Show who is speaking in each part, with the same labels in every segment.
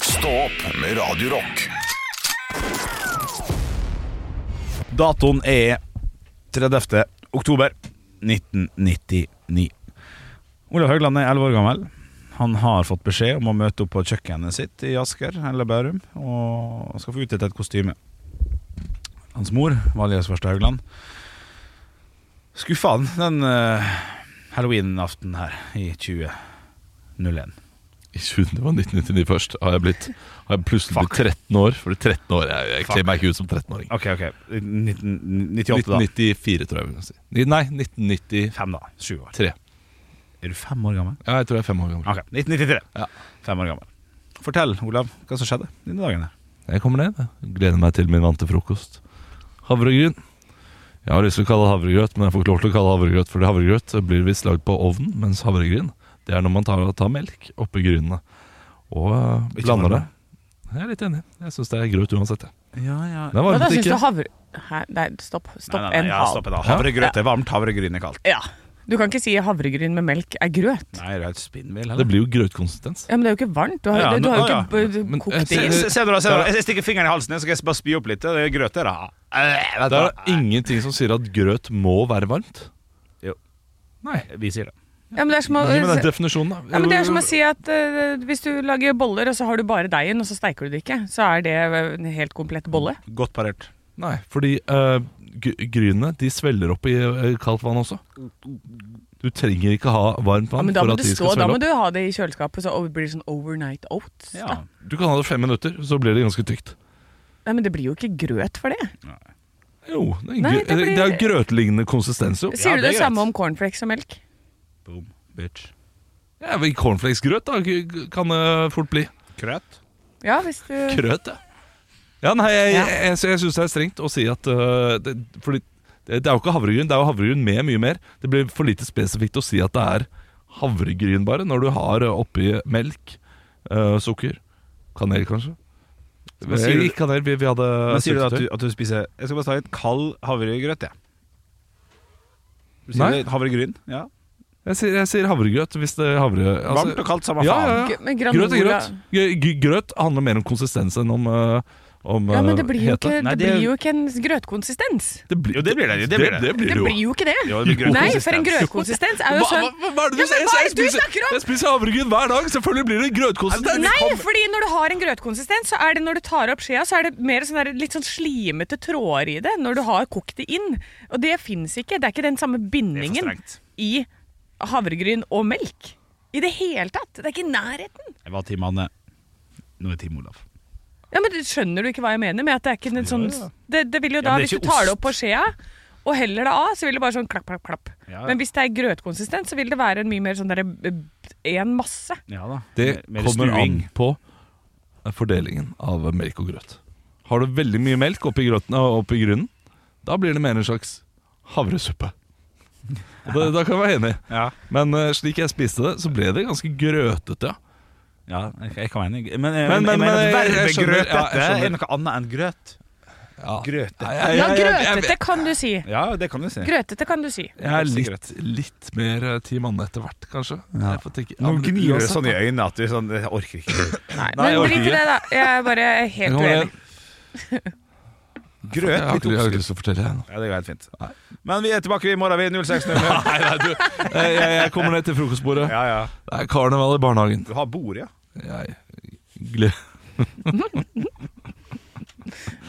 Speaker 1: Stå opp med Radio Rock.
Speaker 2: Datoen er 30. oktober 1999. Olav Haugland er 11 år gammel. Han har fått beskjed om å møte opp på kjøkkenet sitt i Asker eller Bærum og skal få utdelt et kostyme. Hans mor, Valje Svarstad Haugland, skuffa han den uh, halloween-aften her i 2001.
Speaker 3: I 20, det var 1999 først. Har jeg, blitt, har jeg plutselig blitt 13 år? Fordi 13 år, Jeg, jeg kler meg ikke ut som 13-åring.
Speaker 2: Ok, ok. 1998, da.
Speaker 3: 1994, tror jeg vi kan si. Ni- Nei, 1995.
Speaker 2: Fem, da. Sju år. Er du fem år gammel?
Speaker 3: Ja, jeg tror jeg er fem år gammel.
Speaker 2: Ok, 1993.
Speaker 3: Ja.
Speaker 2: Fem år gammel. Fortell, Olav, hva som skjedde denne dagen. her
Speaker 3: Jeg kommer ned. jeg Gleder meg til min vante frokost. Havregryn. Jeg har lyst til å kalle det havregrøt, men jeg får ikke lov til å kalle det havregrøt, fordi havregrøt blir visst lagd på ovnen, mens havregryn det er når man tar, tar melk oppi grynene og eh,
Speaker 2: Ikke
Speaker 3: blander det.
Speaker 2: varme.
Speaker 3: Jeg er litt enig. Jeg syns det er grøt uansett. jeg.
Speaker 2: Ja, ja.
Speaker 3: Det er
Speaker 4: Men da
Speaker 3: varmt
Speaker 4: syns du
Speaker 3: ikke.
Speaker 4: havre... Hæ? Nei, stopp. Stopp
Speaker 2: nei, nei,
Speaker 4: en
Speaker 2: ja,
Speaker 4: hal.
Speaker 2: stopp en hal. Havregrøt er varmt, havregryn er kaldt.
Speaker 4: Ja. Du kan ikke si havregryn med melk er grøt.
Speaker 2: Nei, det er et spinnvill.
Speaker 3: Det blir jo grøtkonsistens.
Speaker 4: Ja, Men det er jo ikke varmt. Du har,
Speaker 2: Ja,
Speaker 4: du, du har jo
Speaker 2: nå-
Speaker 4: ikke b-
Speaker 3: Men- eh,
Speaker 4: kokt det
Speaker 3: jeg-
Speaker 4: inn.
Speaker 3: jeg-
Speaker 2: Se se nå, da. se nå da. Jeg stikker fingeren i halsen, så skal jeg bare spy opp litt. Det er grøt der, da. Eh, vet du
Speaker 3: Det
Speaker 2: hva?
Speaker 3: er ingenting som sier at grøt må være varmt.
Speaker 2: Jo.
Speaker 3: Nei.
Speaker 2: Vi sier det.
Speaker 4: Ja, men det er som å,
Speaker 3: Gi meg den definisjonen, da.
Speaker 4: ja, men det er som å si at eh, hvis du lager boller, og så har du bare deigen, og så steiker du det ikke, så er det en helt komplett bolle.
Speaker 2: Godt parert.
Speaker 3: Nei, fordi uh, grynene de svelger opp i eh, kaldt vann også. Du trenger ikke ha varmt
Speaker 4: Ja,
Speaker 3: vann
Speaker 4: men da
Speaker 3: for
Speaker 4: må
Speaker 3: at
Speaker 4: du
Speaker 3: de
Speaker 4: stå,
Speaker 3: skal
Speaker 4: da
Speaker 3: svelle
Speaker 4: må
Speaker 3: opp.
Speaker 4: du ha det i kjøleskapet, så det blir sånn overnight oats. da.
Speaker 2: Ja.
Speaker 3: Du kan ha det fem minutter, så blir det ganske tykt.
Speaker 4: Nei, men det blir jo ikke grøt for det.
Speaker 3: Jo, det er,
Speaker 4: Nei,
Speaker 3: gr-
Speaker 4: det blir-
Speaker 3: det er grøtlignende konsistens, jo.
Speaker 4: Sier du
Speaker 2: det er
Speaker 4: det,
Speaker 2: greit.
Speaker 4: samme om cornflakes og melk?
Speaker 2: Boom, bitch.
Speaker 3: Ja, men Cornflakesgrøt da, g- g- kan det fort bli.
Speaker 2: Krøt?
Speaker 4: Ja, hvis du
Speaker 3: Krøt, ja. Ja, nei, jeg,
Speaker 4: Ja.
Speaker 3: jeg, jeg, jeg syns det er strengt å si at eh, det, Fordi det, det er jo ikke havregryn, det er jo havregryn med mye mer. Det blir for lite spesifikt å si at det er havregryn, bare, når du har eh, oppi melk, eh, sukker, kanel kanskje.
Speaker 2: Men sier du-
Speaker 3: Ikke kanel, vi, vi hadde
Speaker 2: Men sier du at
Speaker 3: syltetøy.
Speaker 2: du, at du spiser Jeg skal bare ta litt kald havregrøt, jeg. Du sier
Speaker 3: Nei.
Speaker 2: det, Havregryn? Ja.
Speaker 3: jeg, sier, jeg sier havregrøt hvis det er havre... altså-
Speaker 2: Varmt og kaldt, samme
Speaker 3: ja,
Speaker 2: faen.
Speaker 3: ja,
Speaker 4: G-
Speaker 3: ja.
Speaker 4: men
Speaker 3: Grøt er
Speaker 4: granola-
Speaker 3: grøt. G- g- Grøt handler mer om konsistens enn om, eh, om
Speaker 4: Ja, men det
Speaker 3: eh,
Speaker 4: blir jo
Speaker 3: hete.
Speaker 4: ikke,
Speaker 2: Nei,
Speaker 4: det
Speaker 2: det-
Speaker 4: blir jo ikke en grøtkonsistens.
Speaker 3: Det blir-
Speaker 2: Jo, det blir det, det blir det.
Speaker 3: det blir
Speaker 4: Det
Speaker 3: jo.
Speaker 4: blir jo ikke det.
Speaker 2: Jo, det blir grøt
Speaker 4: Nei,
Speaker 2: konsistens.
Speaker 4: for en grøtkonsistens er jo
Speaker 3: Hva,
Speaker 4: sånn
Speaker 3: hva, hva er det du
Speaker 4: Ja, men
Speaker 3: sier?
Speaker 4: hva er
Speaker 3: Jeg
Speaker 4: det du
Speaker 3: spiser-
Speaker 4: snakker om?
Speaker 3: Jeg spiser havregryn hver dag. Selvfølgelig blir det grøtkonsistens.
Speaker 4: Nei, fordi når du har en grøtkonsistens, så er det når du tar opp skjea, så er det mer sånn der, litt sånn slimete tråder i det når du har kokt det inn. Og det fins ikke. Det er ikke den samme bindingen
Speaker 2: strengt.
Speaker 4: i havregryn og melk. I det hele tatt. Det er ikke i nærheten.
Speaker 2: Jeg var Team Anne. Nå er Team Olav.
Speaker 4: Ja, men du- Skjønner du ikke hva jeg mener med at det er ikke en sånn det, det vil jo
Speaker 2: Ja,
Speaker 4: da,
Speaker 2: men det
Speaker 4: Hvis
Speaker 2: er
Speaker 4: du
Speaker 2: ikke
Speaker 4: tar det
Speaker 2: ost.
Speaker 4: opp på skjea og heller det av, så vil det bare sånn klapp, klapp, klapp.
Speaker 2: Ja, ja.
Speaker 4: Men hvis det er grøtkonsistens, så vil det være en mye mer sånn derre én masse.
Speaker 2: Ja da.
Speaker 3: Det
Speaker 2: Mer
Speaker 3: kommer an
Speaker 2: stuing.
Speaker 3: på fordelingen av melk og grøt. Har du veldig mye melk oppi, grøten, og oppi grunnen, da blir det mer en slags havresuppe. Og Da, da kan jeg være enig.
Speaker 2: Ja.
Speaker 3: Men eh, slik jeg spiste det, så ble det ganske grøtete. ja.
Speaker 2: Ja, jeg, jeg kan være enig. Men, jeg- jeg
Speaker 3: Men- men-
Speaker 2: mener
Speaker 3: men
Speaker 2: at
Speaker 3: jeg- jeg
Speaker 2: verbet
Speaker 3: skjønner-
Speaker 2: grøt
Speaker 3: ja, jeg
Speaker 2: dette er
Speaker 3: skjønner.
Speaker 2: noe annet enn grøt.
Speaker 3: Ja.
Speaker 2: Grøtete.
Speaker 3: Nei, jeg-
Speaker 4: Ja,
Speaker 3: jeg- jeg- jeg-
Speaker 4: grøtete kan du si.
Speaker 2: Ja, det kan du si.
Speaker 4: Grøtete kan du si.
Speaker 3: Jeg er litt, litt mer eh, Team Anne etter hvert, kanskje.
Speaker 2: Ja.
Speaker 3: Jeg får tenke- ja,
Speaker 2: Nå
Speaker 3: men
Speaker 2: gnir det
Speaker 3: uansett,
Speaker 2: sånn
Speaker 3: da.
Speaker 2: i øynene at du sånn Jeg orker ikke.
Speaker 4: Nei,
Speaker 3: Nei, jeg
Speaker 4: men
Speaker 3: orker
Speaker 4: drit
Speaker 3: ikke.
Speaker 4: i det, da. Jeg er bare
Speaker 3: Jeg
Speaker 4: helt
Speaker 3: kommer-
Speaker 4: uenig.
Speaker 3: Jeg har
Speaker 2: Grøt litt
Speaker 3: ikke jeg har ikke
Speaker 2: oppskrift.
Speaker 3: lyst til å fortelle, jeg nå.
Speaker 2: Ja, det går helt fint. Men vi er tilbake i morgen, vi. 06.00.
Speaker 3: Nei, nei, du jeg, jeg, jeg kommer ned til frokostbordet.
Speaker 2: Ja, ja.
Speaker 3: Det er karneval i barnehagen.
Speaker 2: Du har bord, ja.
Speaker 3: Jeg, gle-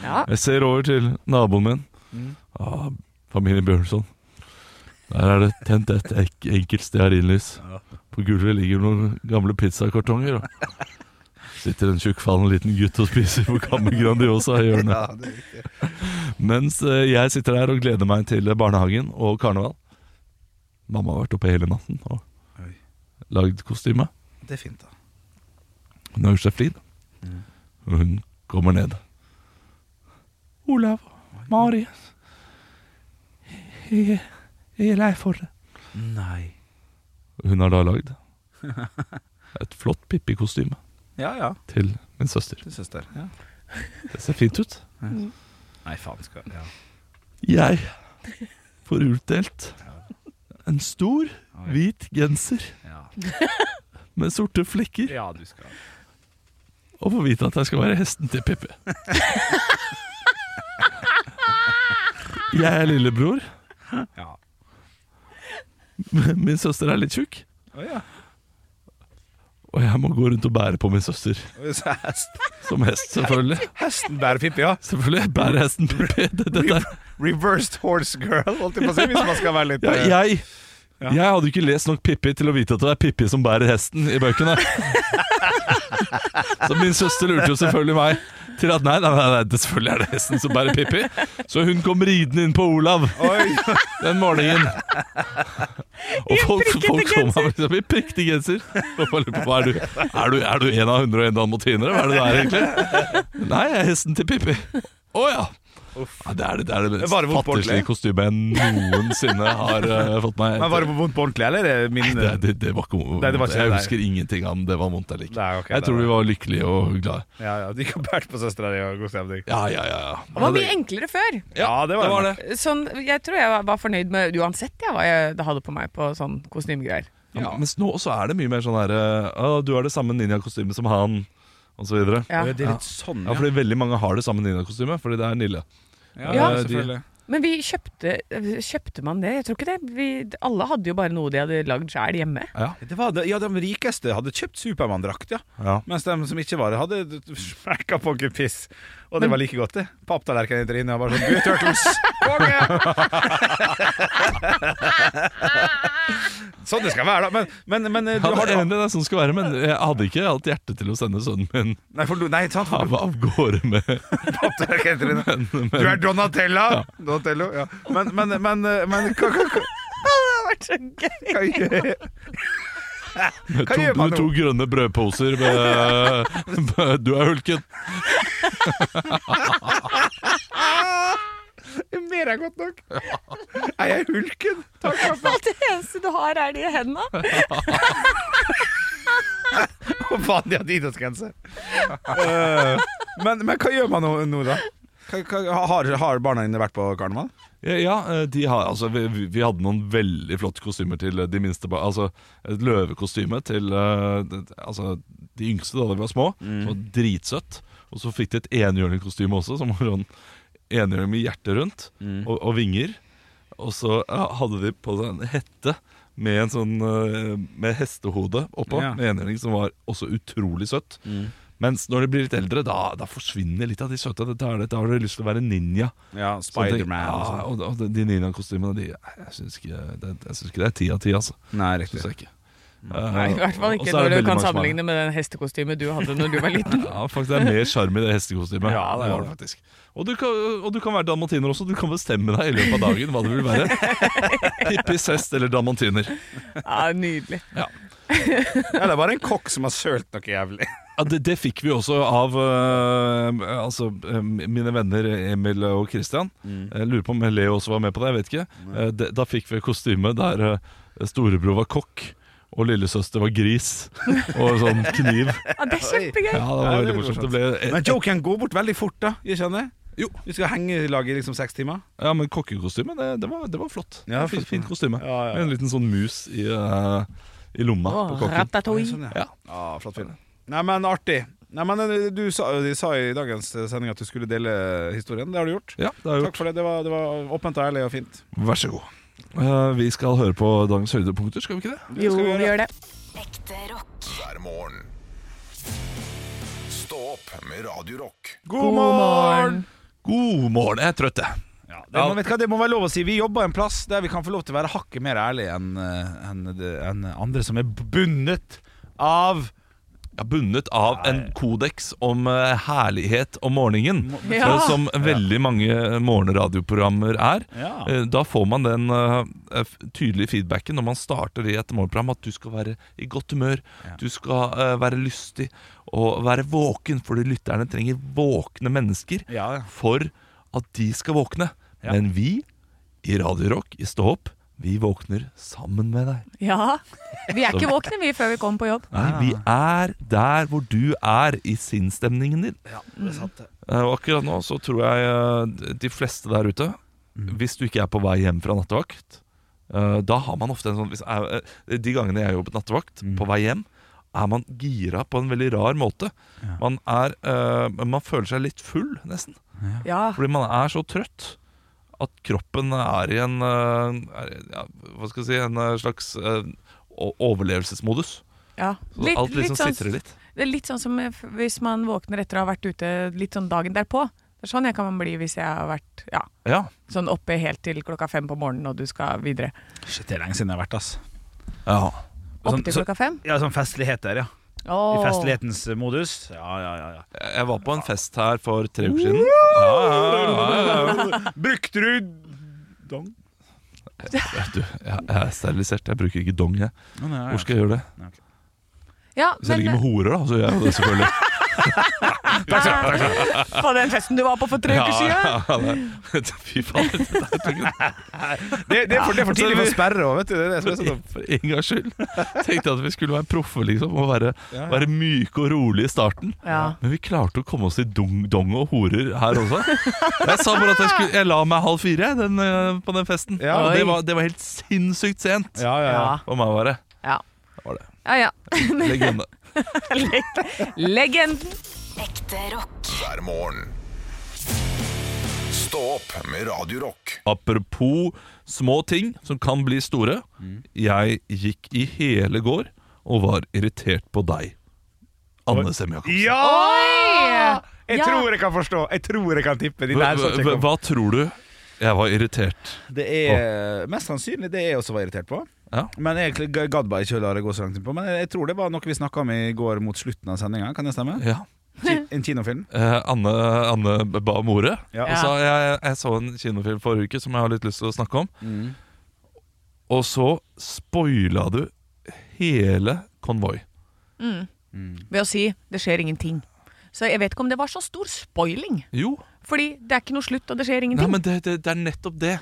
Speaker 4: Ja.
Speaker 3: jeg ser over til naboen min, ah, familien Bjørnson. Der er det tent et ek- enkelt stearinlys. På gulvet ligger noen gamle pizzakartonger. Og sitter en tjukkfallen liten gutt og spiser på gammel Grandiosa i hjørnet. Mens eh, jeg sitter der og gleder meg til barnehagen og karneval. Mamma har vært oppe hele natten og
Speaker 2: Oi.
Speaker 3: lagd kostyme.
Speaker 2: Det er fint, da.
Speaker 3: Hun har gjort seg flid. Og hun kommer ned. Olav, Marius jeg, jeg er lei for det.
Speaker 2: Nei.
Speaker 3: Hun har da lagd et flott pippikostyme
Speaker 2: Ja, ja.
Speaker 3: til min søster.
Speaker 2: Til søster. Ja.
Speaker 3: Det ser fint ut.
Speaker 2: Nei, faen skal ja.
Speaker 3: Jeg får utdelt en stor, hvit genser
Speaker 2: Ja.
Speaker 3: med sorte flekker,
Speaker 2: ja, du skal.
Speaker 3: og får vite at jeg skal være hesten til Pippi. Jeg er lillebror.
Speaker 2: Ja.
Speaker 3: Min søster er litt tjukk,
Speaker 2: Å ja.
Speaker 3: og jeg må gå rundt og bære på min søster.
Speaker 2: Så hest.
Speaker 3: Som hest, selvfølgelig.
Speaker 2: Hesten bærer Pippi, ja.
Speaker 3: Selvfølgelig jeg bærer hesten Pippi. Dette er
Speaker 2: Reversed horse girl, holdt jeg på å si, hvis man skal være litt
Speaker 3: Ja,
Speaker 2: eh,
Speaker 3: jeg, jeg hadde ikke lest nok Pippi til å vite at det er Pippi som bærer hesten i bøkene. Så min søster lurte jo selvfølgelig meg til at nei, nei, nei, nei det selvfølgelig er det hesten som bærer Pippi. Så hun kom ridende inn på Olav
Speaker 2: Oi,
Speaker 3: den morgenen. Og folk,
Speaker 4: prikkete
Speaker 3: folk så
Speaker 4: genser.
Speaker 3: meg liksom i prikkete genser. Og bare lurte på, er, du, er, du, er du en av 101 dalmatinere? Hva er det det er egentlig? Nei, jeg er hesten til Pippi. Å ja. Ja, det er det, det, er det mest
Speaker 2: Var det vondt på
Speaker 3: fattigslige
Speaker 2: ordentlig?
Speaker 3: kostymet jeg noensinne har eh, fått meg.
Speaker 2: men Var det på vondt på ordentlig, eller? er det Min,
Speaker 3: Nei, det, det var ikke vondt.
Speaker 2: Nei, det var ikke-
Speaker 3: jeg
Speaker 2: nei.
Speaker 3: husker ingenting av om det var vondt eller ikke.
Speaker 2: Nei, ok,
Speaker 3: jeg
Speaker 2: det
Speaker 3: tror
Speaker 2: var-
Speaker 3: vi var lykkelige og glade.
Speaker 2: Ja, ja, Du kan bære på søstera di og god stemning.
Speaker 3: Ja, ja, ja. ja.
Speaker 4: Det var
Speaker 3: Men
Speaker 4: mye enklere før.
Speaker 2: Ja, det var
Speaker 3: det. Var
Speaker 2: det.
Speaker 3: det.
Speaker 4: Sånn, jeg tror jeg var fornøyd med uansett jeg, hva jeg hadde på meg på sånn kostymegreier.
Speaker 3: Ja, mens nå så er det mye mer sånn herre Å, du har det samme ninjakostymet som han, og så videre.
Speaker 4: Ja.
Speaker 2: Å, Det er litt sånn,
Speaker 3: Ja,
Speaker 2: ja.
Speaker 3: fordi veldig mange har det samme ninjakostymet, fordi det er Nille.
Speaker 2: Ja,
Speaker 4: Ja.
Speaker 2: selvfølgelig.
Speaker 4: Men vi kjøpte Kjøpte man det? Jeg tror ikke det. Vi, alle hadde jo bare noe de hadde lagd sjæl hjemme.
Speaker 2: Det var det. Ja, de rikeste hadde kjøpt Supermann-drakt, ja.
Speaker 3: Ja.
Speaker 2: Mens de som ikke var det, hadde smekka på ikke piss. Og det var like godt, det. Papptallerkenen etter inne og bare sånn Du er turtles! Konge! sånn det skal være, da. Men, men, men du
Speaker 3: Han
Speaker 2: har
Speaker 3: er enig i det som skal være, men jeg hadde ikke hatt hjerte til å sende sønnen min
Speaker 2: Nei, for, du- nei sant? For,
Speaker 3: av, av gårde med
Speaker 2: papptallerkenen etter inne. Du er Donatella! Donatello, ja. Men, men, men, men hva, hva, hva,
Speaker 4: Det har vært så gøy!
Speaker 2: hva gjør
Speaker 3: med
Speaker 2: Hva
Speaker 3: to,
Speaker 2: gjør man
Speaker 3: med to
Speaker 2: nå?
Speaker 3: grønne brødposer med, med Du er hulken.
Speaker 2: Mer er godt nok. Er jeg hulken? Takk, pappa.
Speaker 4: Alt det eneste du har, er de i hendene.
Speaker 2: Og faen, de har Adidas-genser. Eh, men, men hva gjør man nå, nå da? Hva, hva, har, har barna dine vært på karneval?
Speaker 3: Ja, ja eh, de har, altså, vi, vi- vi hadde noen veldig flotte kostymer til eh, de minste ba- Altså et løvekostyme til eh, d- d- altså, de yngste da de var små. Som var dritsøtt. Og så fikk de et enhjørningkostyme også, som var sånn enhjørning med hjerte rundt og, og vinger. Og så ja, hadde de på seg en hette med en sånn eh, Med hestehode oppå,
Speaker 2: Ja.
Speaker 3: med enhjørning, som var også utrolig søtt. Mens når de blir litt eldre, da, da forsvinner litt av de søte. Da er det- da har de lyst til å være ninja.
Speaker 2: Ja, sånn.
Speaker 3: Sånne ting. Ja, og, og de ninjakostymene de, Jeg syns ikke, det- jeg synes ikke det er ti av ti, altså.
Speaker 2: Nei,
Speaker 3: Synes
Speaker 2: riktig.
Speaker 3: jeg ikke.
Speaker 2: Mm.
Speaker 3: Eh,
Speaker 4: Nei, I hvert fall ikke når du kan sammenligne med den hestekostymet du hadde når du var liten.
Speaker 3: Ja, faktisk, det er mer sjarm i det hestekostymet.
Speaker 2: Ja, det er
Speaker 3: var
Speaker 2: det.
Speaker 3: faktisk. Og du, kan, og du kan være dalmatiner også. Du kan bestemme deg i løpet av dagen hva det vil være. Pippis hest eller dalmatiner.
Speaker 4: Ja, Nydelig.
Speaker 2: Eller bare en kokk som har sølt noe jævlig.
Speaker 3: Ja, det, det fikk vi også av eh, altså, eh, mine venner Emil og Christian.
Speaker 2: Mm.
Speaker 3: Jeg lurer på om Leo også var med på det. jeg vet ikke Eh, det- Da fikk vi kostyme der eh, storebror var kokk og lillesøster var gris. Og sånn kniv.
Speaker 4: Ja, det er kjempegøy.
Speaker 3: Ja, det
Speaker 2: Ja,
Speaker 3: var
Speaker 2: det er
Speaker 3: veldig morsomt. Det
Speaker 2: morsomt.
Speaker 3: ble, e-
Speaker 2: Men joken går bort veldig fort, da. Jeg kjenner
Speaker 3: Jo.
Speaker 2: Du skal henge i lag i liksom seks timer.
Speaker 3: ja, men kokkekostyme, det, det, var, det var flott.
Speaker 2: Ja,
Speaker 3: fint,
Speaker 2: flott.
Speaker 3: fint kostyme.
Speaker 2: Ja, ja.
Speaker 3: Med en liten sånn mus i, eh, i lomma
Speaker 4: Å,
Speaker 3: på kokken.
Speaker 4: ratatouille.
Speaker 2: Sånn, ja.
Speaker 3: Ja.
Speaker 2: ja, flott film. Nei, men artig. Nei, men eh, Du sa, de sa i dagens eh, sending at du skulle dele historien. Det har du gjort.
Speaker 3: Ja, det er jo
Speaker 2: Takk for det. Det var, det var åpent og ærlig og fint.
Speaker 3: Vær så god. Eh, vi skal høre på dagens høydepunkter, skal vi ikke det?
Speaker 4: Jo, vi gjør det.
Speaker 5: Ekte rock.
Speaker 1: hver morgen. Stå opp med Radio Rock.
Speaker 2: God morgen!
Speaker 3: God morgen. Jeg er trøtt, jeg.
Speaker 2: Ja, det, må- vet du hva, det må være lov å si. Vi jobber en plass der vi kan få lov til å være hakket mer ærlige enn eh, enn det- enn andre som er bundet av
Speaker 3: ja, bundet av en kodeks om eh, herlighet om morgenen,
Speaker 4: Ja.
Speaker 3: eh, som veldig mange morgenradioprogrammer er.
Speaker 2: Ja.
Speaker 3: Eh, Da får man den eh, f- tydelige feedbacken når man starter i et morgenprogram, at du skal være i godt humør, du skal eh, være lystig og være våken, fordi lytterne trenger våkne mennesker
Speaker 2: Ja, ja.
Speaker 3: for at de skal våkne.
Speaker 2: Ja.
Speaker 3: Men vi i Radio Rock, i Stå opp, vi våkner sammen med deg.
Speaker 4: Ja. Vi er ikke våkne vi før vi kommer på jobb.
Speaker 3: Nei,
Speaker 2: Ah.
Speaker 3: vi er der hvor du er i sinnsstemningen din. Eh, Og akkurat nå så tror jeg eh, de fleste der ute Hvis du ikke er på vei hjem fra nattevakt eh, Da har man ofte en sånn hvis, jeg- eh, De gangene jeg har jobbet nattevakt På vei hjem Er man gira på en veldig rar måte man, er, eh, man føler seg litt full nesten
Speaker 4: Ja.
Speaker 3: Fordi man er så trøtt At kroppen er i en eh, er, i- ja, Hva skal jeg si En eh, slags eh, o- overlevelsesmodus
Speaker 4: ja.
Speaker 3: Så Alt liksom
Speaker 4: sånn
Speaker 3: sitrer litt
Speaker 4: Det er litt sånn som eh, hvis man våkner etter å ha vært ute litt sånn dagen derpå. Det er sånn jeg kan bli hvis jeg har vært ja,
Speaker 3: Ja,
Speaker 4: sånn oppe helt til klokka fem på morgenen og du skal videre.
Speaker 2: Shit, det er lenge siden jeg har vært, ass.
Speaker 3: ja.
Speaker 4: Oppe
Speaker 2: Sånn-
Speaker 4: til
Speaker 2: så-
Speaker 4: klokka fem.
Speaker 2: Ja, sånn festligheter, ja. I
Speaker 4: Åh.
Speaker 2: festlighetens eh, modus. Ja, ja, ja. ja.
Speaker 3: Jeg var på en fest her for tre uker siden.
Speaker 2: Brukte du dong?
Speaker 3: Du, jeg, jeg er sterilisert. Jeg bruker ikke dong. jeg Hvor skal jeg gjøre det?
Speaker 4: Ja,
Speaker 3: Hvis jeg ligger med
Speaker 4: men
Speaker 3: horer, da, så gjør jeg jo det selvfølgelig.
Speaker 4: på den festen du var på for tre uker siden!
Speaker 3: Ja, ja, det- Fy faen. det er tungt.
Speaker 2: Det, det, er for, det er for tidlig
Speaker 3: Ja.
Speaker 2: for sperre òg, vet du. Det er det som er så dumt.
Speaker 3: For en gangs skyld. Tenkte jeg at vi skulle være proffe liksom og være, være myke og rolige i starten.
Speaker 4: Ja.
Speaker 3: Men vi klarte å komme oss i dong, dong og horer her også. Jeg sa bare at jeg, skulle, jeg la meg halv fire den, eh, på den festen.
Speaker 2: Ja.
Speaker 3: og det var, det var helt sinnssykt sent
Speaker 2: Ja, ja, ja.
Speaker 4: Ja.
Speaker 3: for meg å være.
Speaker 4: Ja.
Speaker 3: Det var det.
Speaker 4: Ja, ja.
Speaker 3: Legende.
Speaker 4: Legenden.
Speaker 5: Ekte rock.
Speaker 1: hver morgen. Stå opp med Radio Rock.
Speaker 3: Apropos små ting som kan bli store.
Speaker 2: Mm.
Speaker 3: Jeg gikk i hele går og var irritert på deg, Anne Sem-Jacobsen.
Speaker 2: Ja! Jeg
Speaker 4: Ja.
Speaker 2: tror jeg kan forstå. Jeg tror jeg kan tippe. De
Speaker 3: Hva,
Speaker 2: der som
Speaker 3: hva-
Speaker 2: sjekker opp.
Speaker 3: hva tror du? Jeg var irritert.
Speaker 2: Det er mest sannsynlig det jeg også var irritert på.
Speaker 3: Ja.
Speaker 2: Men egentlig ga- gadd bare ikke å la det gå så langt innpå. Men jeg jeg tror det var noe vi snakka om i går mot slutten av sendinga. Kan det stemme?
Speaker 3: Ja.
Speaker 2: Ki en kinofilm?
Speaker 3: Eh, Anne, Anne ba om ordet.
Speaker 2: Ja.
Speaker 3: Og sa jeg, jeg så en kinofilm forrige uke som jeg har litt lyst til å snakke om.
Speaker 2: Mm.
Speaker 3: Og så spoila du hele Konvoi.
Speaker 4: Ved å si 'det skjer ingenting'. Så jeg vet ikke om det var så stor spoiling.
Speaker 3: Jo,
Speaker 4: Fordi det er ikke noe slutt, og det skjer
Speaker 3: Nei,
Speaker 4: ingenting.
Speaker 3: men det, det, det er nettopp det.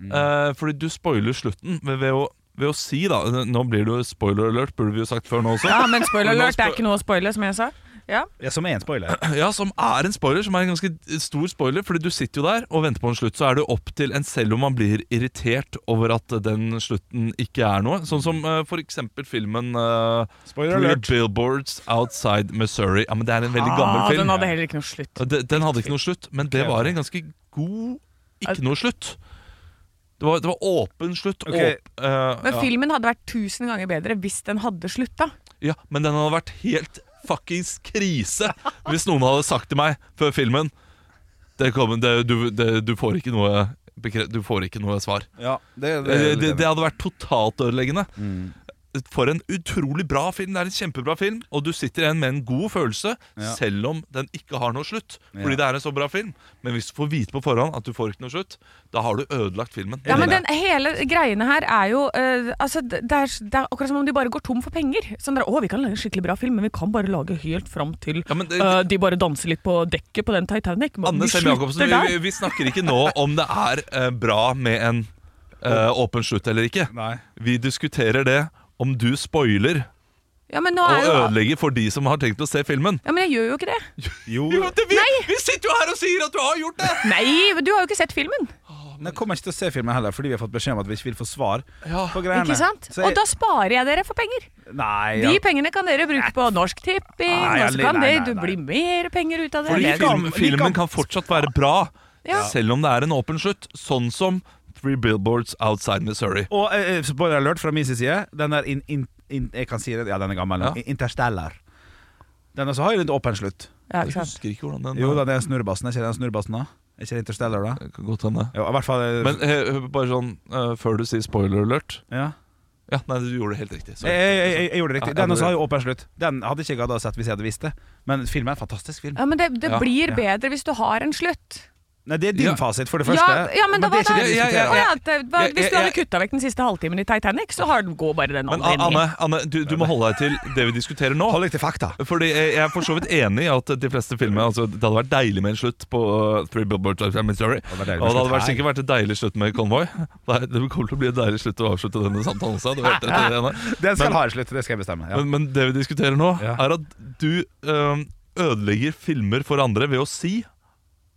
Speaker 2: Mm.
Speaker 3: Eh, fordi du spoiler slutten ved, ved, å, ved å si, da eh, Nå blir det jo spoiler alert, burde vi jo sagt før nå også.
Speaker 4: Ja, men spoiler
Speaker 3: Nå
Speaker 4: alert, det
Speaker 3: spo-
Speaker 4: er ikke noe å spoile, som jeg sa. Ja.
Speaker 2: Ja, som er en spoiler.
Speaker 3: Ja, Som er en spoiler, som er en ganske stor spoiler. Fordi du sitter jo der og venter på en slutt. Så er det jo opp til en selv om man blir irritert over at den slutten ikke er noe. Sånn som eh, for eksempel filmen eh,
Speaker 2: Spoiler
Speaker 3: Three
Speaker 2: alert.
Speaker 3: Billboards Outside Missouri. Ja, men Det er en veldig gammel
Speaker 4: Ah,
Speaker 3: film.
Speaker 4: den hadde heller ikke noe slutt.
Speaker 3: Ja, de- Den hadde ikke noe slutt, men det var en ganske god ikke noe slutt. Det var, det var åpen slutt.
Speaker 2: Ok.
Speaker 3: Åp, eh,
Speaker 4: Men
Speaker 3: ja.
Speaker 4: filmen hadde vært tusen ganger bedre hvis den hadde slutta.
Speaker 3: ja, men den hadde vært helt fuckings krise hvis noen hadde sagt til meg før filmen det kommer- det, du, det, du, får ikke noe, bekre- du får ikke noe svar.
Speaker 2: Ja, det, Eh, det,
Speaker 3: Det, Eh, det, det hadde vært totalt ødeleggende.
Speaker 2: Mm.
Speaker 3: For en utrolig bra film. Det er en kjempebra film, og du sitter igjen med en god følelse,
Speaker 2: Ja.
Speaker 3: selv om den ikke har noe slutt. Fordi
Speaker 2: Ja.
Speaker 3: det er en så bra film. Men hvis du får vite på forhånd at du får ikke noe slutt, da har du ødelagt filmen.
Speaker 4: Ja, men den hele greiene her er jo eh, altså, det, det er, det er akkurat som om de bare går tom for penger. Sånn der, 'Å, vi kan lage en skikkelig bra film, men vi kan bare lage helt fram til
Speaker 3: Ja, men det-
Speaker 4: eh, de bare danser litt på dekket på den Titanic'. Men
Speaker 3: Anne
Speaker 4: vi
Speaker 3: Sem
Speaker 4: slutter
Speaker 3: Jacobsen, vi,
Speaker 4: der.
Speaker 3: vi, vi snakker ikke nå om det er eh, bra med en eh, åpen slutt eller ikke.
Speaker 2: Nei.
Speaker 3: Vi diskuterer det om du spoiler
Speaker 4: Ja, men nå
Speaker 3: og
Speaker 4: er jo
Speaker 3: ødelegger for de som har tenkt å se filmen.
Speaker 4: Ja, men jeg gjør jo ikke det.
Speaker 2: Jo,
Speaker 3: Jo, det, vi, vi sitter jo her og sier at du har gjort det!
Speaker 4: Nei, men du har jo ikke sett filmen.
Speaker 2: men jeg kommer ikke til å se filmen heller, fordi vi har fått beskjed om at vi ikke vil få svar
Speaker 3: Ja.
Speaker 2: på greiene.
Speaker 4: Ikke sant?
Speaker 2: Så jeg-
Speaker 4: Og da sparer jeg dere for penger.
Speaker 2: Nei, ja.
Speaker 4: De pengene kan dere bruke på Norsk Tipping,
Speaker 2: Nei,
Speaker 4: og så
Speaker 2: nei, nei,
Speaker 4: kan det
Speaker 2: nei,
Speaker 4: du
Speaker 2: nei.
Speaker 4: bli mer penger ut av det.
Speaker 3: Fordi
Speaker 4: Eller-
Speaker 3: film,
Speaker 2: like
Speaker 3: filmen
Speaker 2: gammel.
Speaker 3: kan fortsatt være bra,
Speaker 4: Ja.
Speaker 3: selv om det er en åpen slutt. Sånn som Three Billboards Outside Missouri.
Speaker 2: Og eh, spoiler alert fra min side. Den der in, in, in, Jeg kan si det, ja, den er gammel. nå.
Speaker 3: Ja.
Speaker 2: Interstellar. Den også har jo litt åpen slutt.
Speaker 4: Ja,
Speaker 3: Jeg
Speaker 4: ikke sant?
Speaker 3: husker ikke hvordan den
Speaker 2: Jo da, det er snurrebassen. Er ikke den snurrebassen, da? Er ikke det Interstellar, da?
Speaker 3: Det kan godt hende.
Speaker 2: Jo, i hvert fall eh,
Speaker 3: Men eh, bare sånn eh, før du sier spoiler alert
Speaker 2: ja.
Speaker 3: Ja, nei, du gjorde det helt riktig. Sorry.
Speaker 2: Jeg, jeg, jeg, jeg gjorde det riktig.
Speaker 3: Ja,
Speaker 2: Den
Speaker 3: ja,
Speaker 2: også har
Speaker 3: du-
Speaker 2: jo åpen slutt. Den hadde ikke jeg hadde sett hvis jeg hadde visst det. Men filmen er en fantastisk film.
Speaker 4: Ja, men det, det
Speaker 3: Ja,
Speaker 4: blir
Speaker 2: ja.
Speaker 4: bedre hvis du har en slutt.
Speaker 2: Nei, Det er din
Speaker 3: Ja.
Speaker 2: fasit, for det første.
Speaker 4: Ja, ja, men, da var
Speaker 2: det er ikke
Speaker 4: det-
Speaker 2: det vi
Speaker 3: Ja, ja, ja.
Speaker 4: Å
Speaker 2: diskuterer.
Speaker 4: ja, det var,
Speaker 3: Jeg-
Speaker 4: Hvis du
Speaker 3: jeg-
Speaker 4: hadde kutta vekk den siste halvtimen i Titanic, så har den, går bare den
Speaker 3: Men
Speaker 4: andre
Speaker 3: A-
Speaker 4: enden
Speaker 3: Anne,
Speaker 4: inn.
Speaker 3: Anne du, du må holde deg til det vi diskuterer nå.
Speaker 2: Hold deg til fakta.
Speaker 3: Fordi eh, jeg jeg er for så vidt enig i at de fleste filmer altså, Det hadde vært deilig med en slutt på uh, Three Billboards Outside Mid Story.
Speaker 2: hadde vært deilig med
Speaker 3: Og det
Speaker 2: slutt
Speaker 3: hadde vært,
Speaker 2: her.
Speaker 3: sikkert vært en deilig slutt med Convoy. Det er- det kommer til å bli en deilig slutt å avslutte denne samtalen også. Du vet, det, Anne.
Speaker 2: Den skal
Speaker 3: Men-
Speaker 2: ha en slutt. Det skal jeg bestemme. Ja.
Speaker 3: Men, men det vi diskuterer nå,
Speaker 2: Ja.
Speaker 3: er at du øhm, ødelegger filmer for andre ved å si,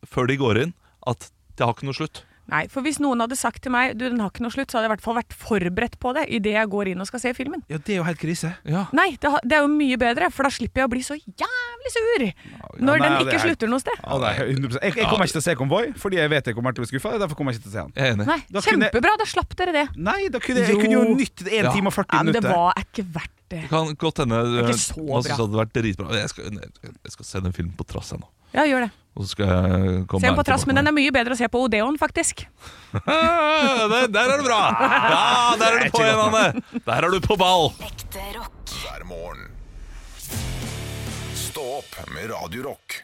Speaker 3: før de går inn, at det har ikke noe slutt.
Speaker 4: Nei, for hvis noen hadde sagt til meg Du, den har ikke noe slutt, så hadde jeg i hvert fall vært forberedt på det idet jeg går inn og skal se filmen.
Speaker 2: ja, det er jo helt krise.
Speaker 3: Ja.
Speaker 4: Nei, det, ha- det er jo mye bedre, for da slipper jeg å bli så jævlig sur
Speaker 2: nei,
Speaker 4: når den
Speaker 2: ja, det
Speaker 4: ikke
Speaker 2: er-
Speaker 4: slutter noe sted.
Speaker 2: Ja, nei, 100%. Jeg, jeg kommer ikke til å se Konvoi, fordi jeg vet jeg kommer til å bli skuffa. Derfor kommer jeg ikke til å se han.
Speaker 3: Jeg er enig.
Speaker 4: Nei,
Speaker 2: Da kunne-
Speaker 4: Kjempebra, da slapp dere det.
Speaker 2: Nei, da kunne jeg, jeg
Speaker 4: Jo.
Speaker 2: kunne jo nytt 1
Speaker 3: Ja.
Speaker 2: time og
Speaker 4: Ja,
Speaker 2: 40
Speaker 4: men det
Speaker 2: minutter.
Speaker 4: var er ikke verdt det.
Speaker 3: Det kan godt hende
Speaker 4: er
Speaker 3: øh, man
Speaker 4: ikke så
Speaker 3: synes
Speaker 4: bra.
Speaker 3: det hadde vært dritbra. Jeg skal, jeg skal se den filmen på trass ennå.
Speaker 4: Ja, gjør det.
Speaker 3: Og så skal jeg komme
Speaker 4: Se den på trass, men den er mye bedre å se på Odeon, faktisk.
Speaker 3: der, der er du bra! Ja, der er du på igjen, Anne! Der er du på ball!
Speaker 1: hver morgen. Stå opp med Radio Rock.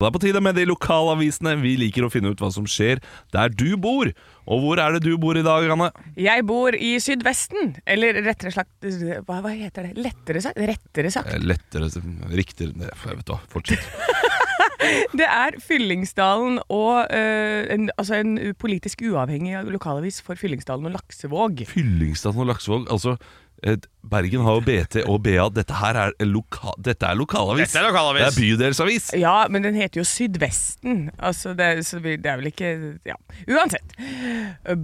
Speaker 3: Det er på tide med de lokalavisene. Vi liker å finne ut hva som skjer der du bor. Og hvor er det du bor i dag, Anne?
Speaker 4: Jeg bor i Sydvesten, eller rettere slakt Hva, hva heter det? Lettere sagt? Rettere sagt.
Speaker 3: Eh, Lettere, riktigere Nei, Jeg vet da, fortsett.
Speaker 4: Det er Fyllingsdalen og eh, en, altså en politisk uavhengig lokalavis for Fyllingsdalen og Laksevåg.
Speaker 3: Fyllingsdalen og Laksevåg. Altså, eh, Bergen har jo BT og BA. Dette her er, en loka dette er lokalavis.
Speaker 2: Dette er lokalavis.
Speaker 3: Det er bydelsavis.
Speaker 4: Ja, men den heter jo Sydvesten. Altså, det, så vi, det er vel ikke Ja. Uansett.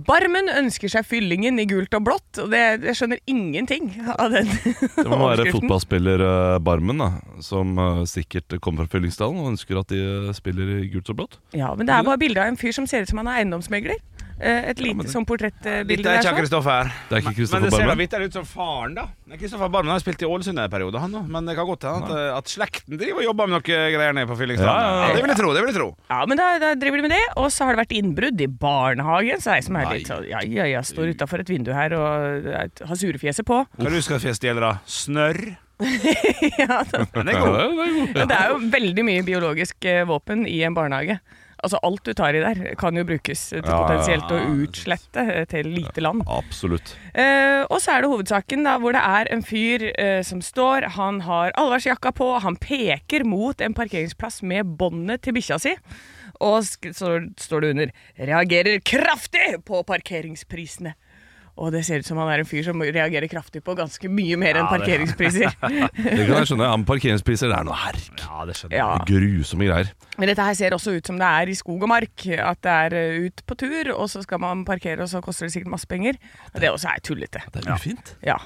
Speaker 4: Barmen ønsker seg fyllingen i gult og blått, og det, jeg skjønner ingenting av den
Speaker 3: Det må være
Speaker 4: overskriften.
Speaker 3: fotballspiller eh, Barmen, da, som eh, sikkert kommer fra Fyllingsdalen og ønsker at de eh, spiller i gult og blått.
Speaker 4: Ja, men det er bare bilde av en fyr som ser ut som han er eiendomsmegler. Eh, Et lite sånn
Speaker 2: Dette
Speaker 4: portrettbilde
Speaker 3: eh,
Speaker 2: er
Speaker 4: der.
Speaker 2: ikke
Speaker 4: sånn.
Speaker 2: Kristoffer.
Speaker 3: Det er ikke
Speaker 2: Men
Speaker 3: Kristoffer
Speaker 2: det ser da
Speaker 3: Barmen.
Speaker 2: vitterlig ut som faren, da. Men Kristoffer Barmen har spilt i Ålesund en periode, han da. Men det kan godt hende at, at slekten driver og jobber med noe greier nede på Fyllingsdalen.
Speaker 3: Ja, ja, ja.
Speaker 2: det vil jeg tro. det vil jeg tro
Speaker 4: Ja, men da, da driver de med det. Og så har det vært innbrudd i barnehagen, så jeg som er
Speaker 3: Nei.
Speaker 4: litt sånn Ja, ja, ja, står utafor et vindu her og eh, har surefjeset på.
Speaker 2: Hva er det du skal fjestgjelde, da? Snørr?
Speaker 4: ja, da.
Speaker 2: Den er god.
Speaker 3: Ja, det er god.
Speaker 4: Men det er jo veldig mye biologisk eh, våpen i en barnehage. Altså Alt du tar i der, kan jo brukes eh, til potensielt å utslette eh, til lite land.
Speaker 3: Absolutt.
Speaker 4: Eh, og så er det hovedsaken, da, hvor det er en fyr eh, som står. Han har allværsjakka på, han peker mot en parkeringsplass med båndet til bikkja si. Og sk så står det under 'Reagerer kraftig på parkeringsprisene'. Og det ser ut som han er en fyr som reagerer kraftig på ganske mye mer enn parkeringspriser.
Speaker 3: Det kan jeg skjønne. Ja, men Parkeringspriser det er noe herk.
Speaker 2: Ja, det skjønner jeg.
Speaker 4: ja.
Speaker 3: Grusomme greier.
Speaker 4: Men dette her ser også ut som det er i skog og mark. At det er eh, ut på tur, og så skal man parkere, og så koster det sikkert masse penger. Og det også er tullete.
Speaker 3: Det er Eh. ufint.
Speaker 4: Ja.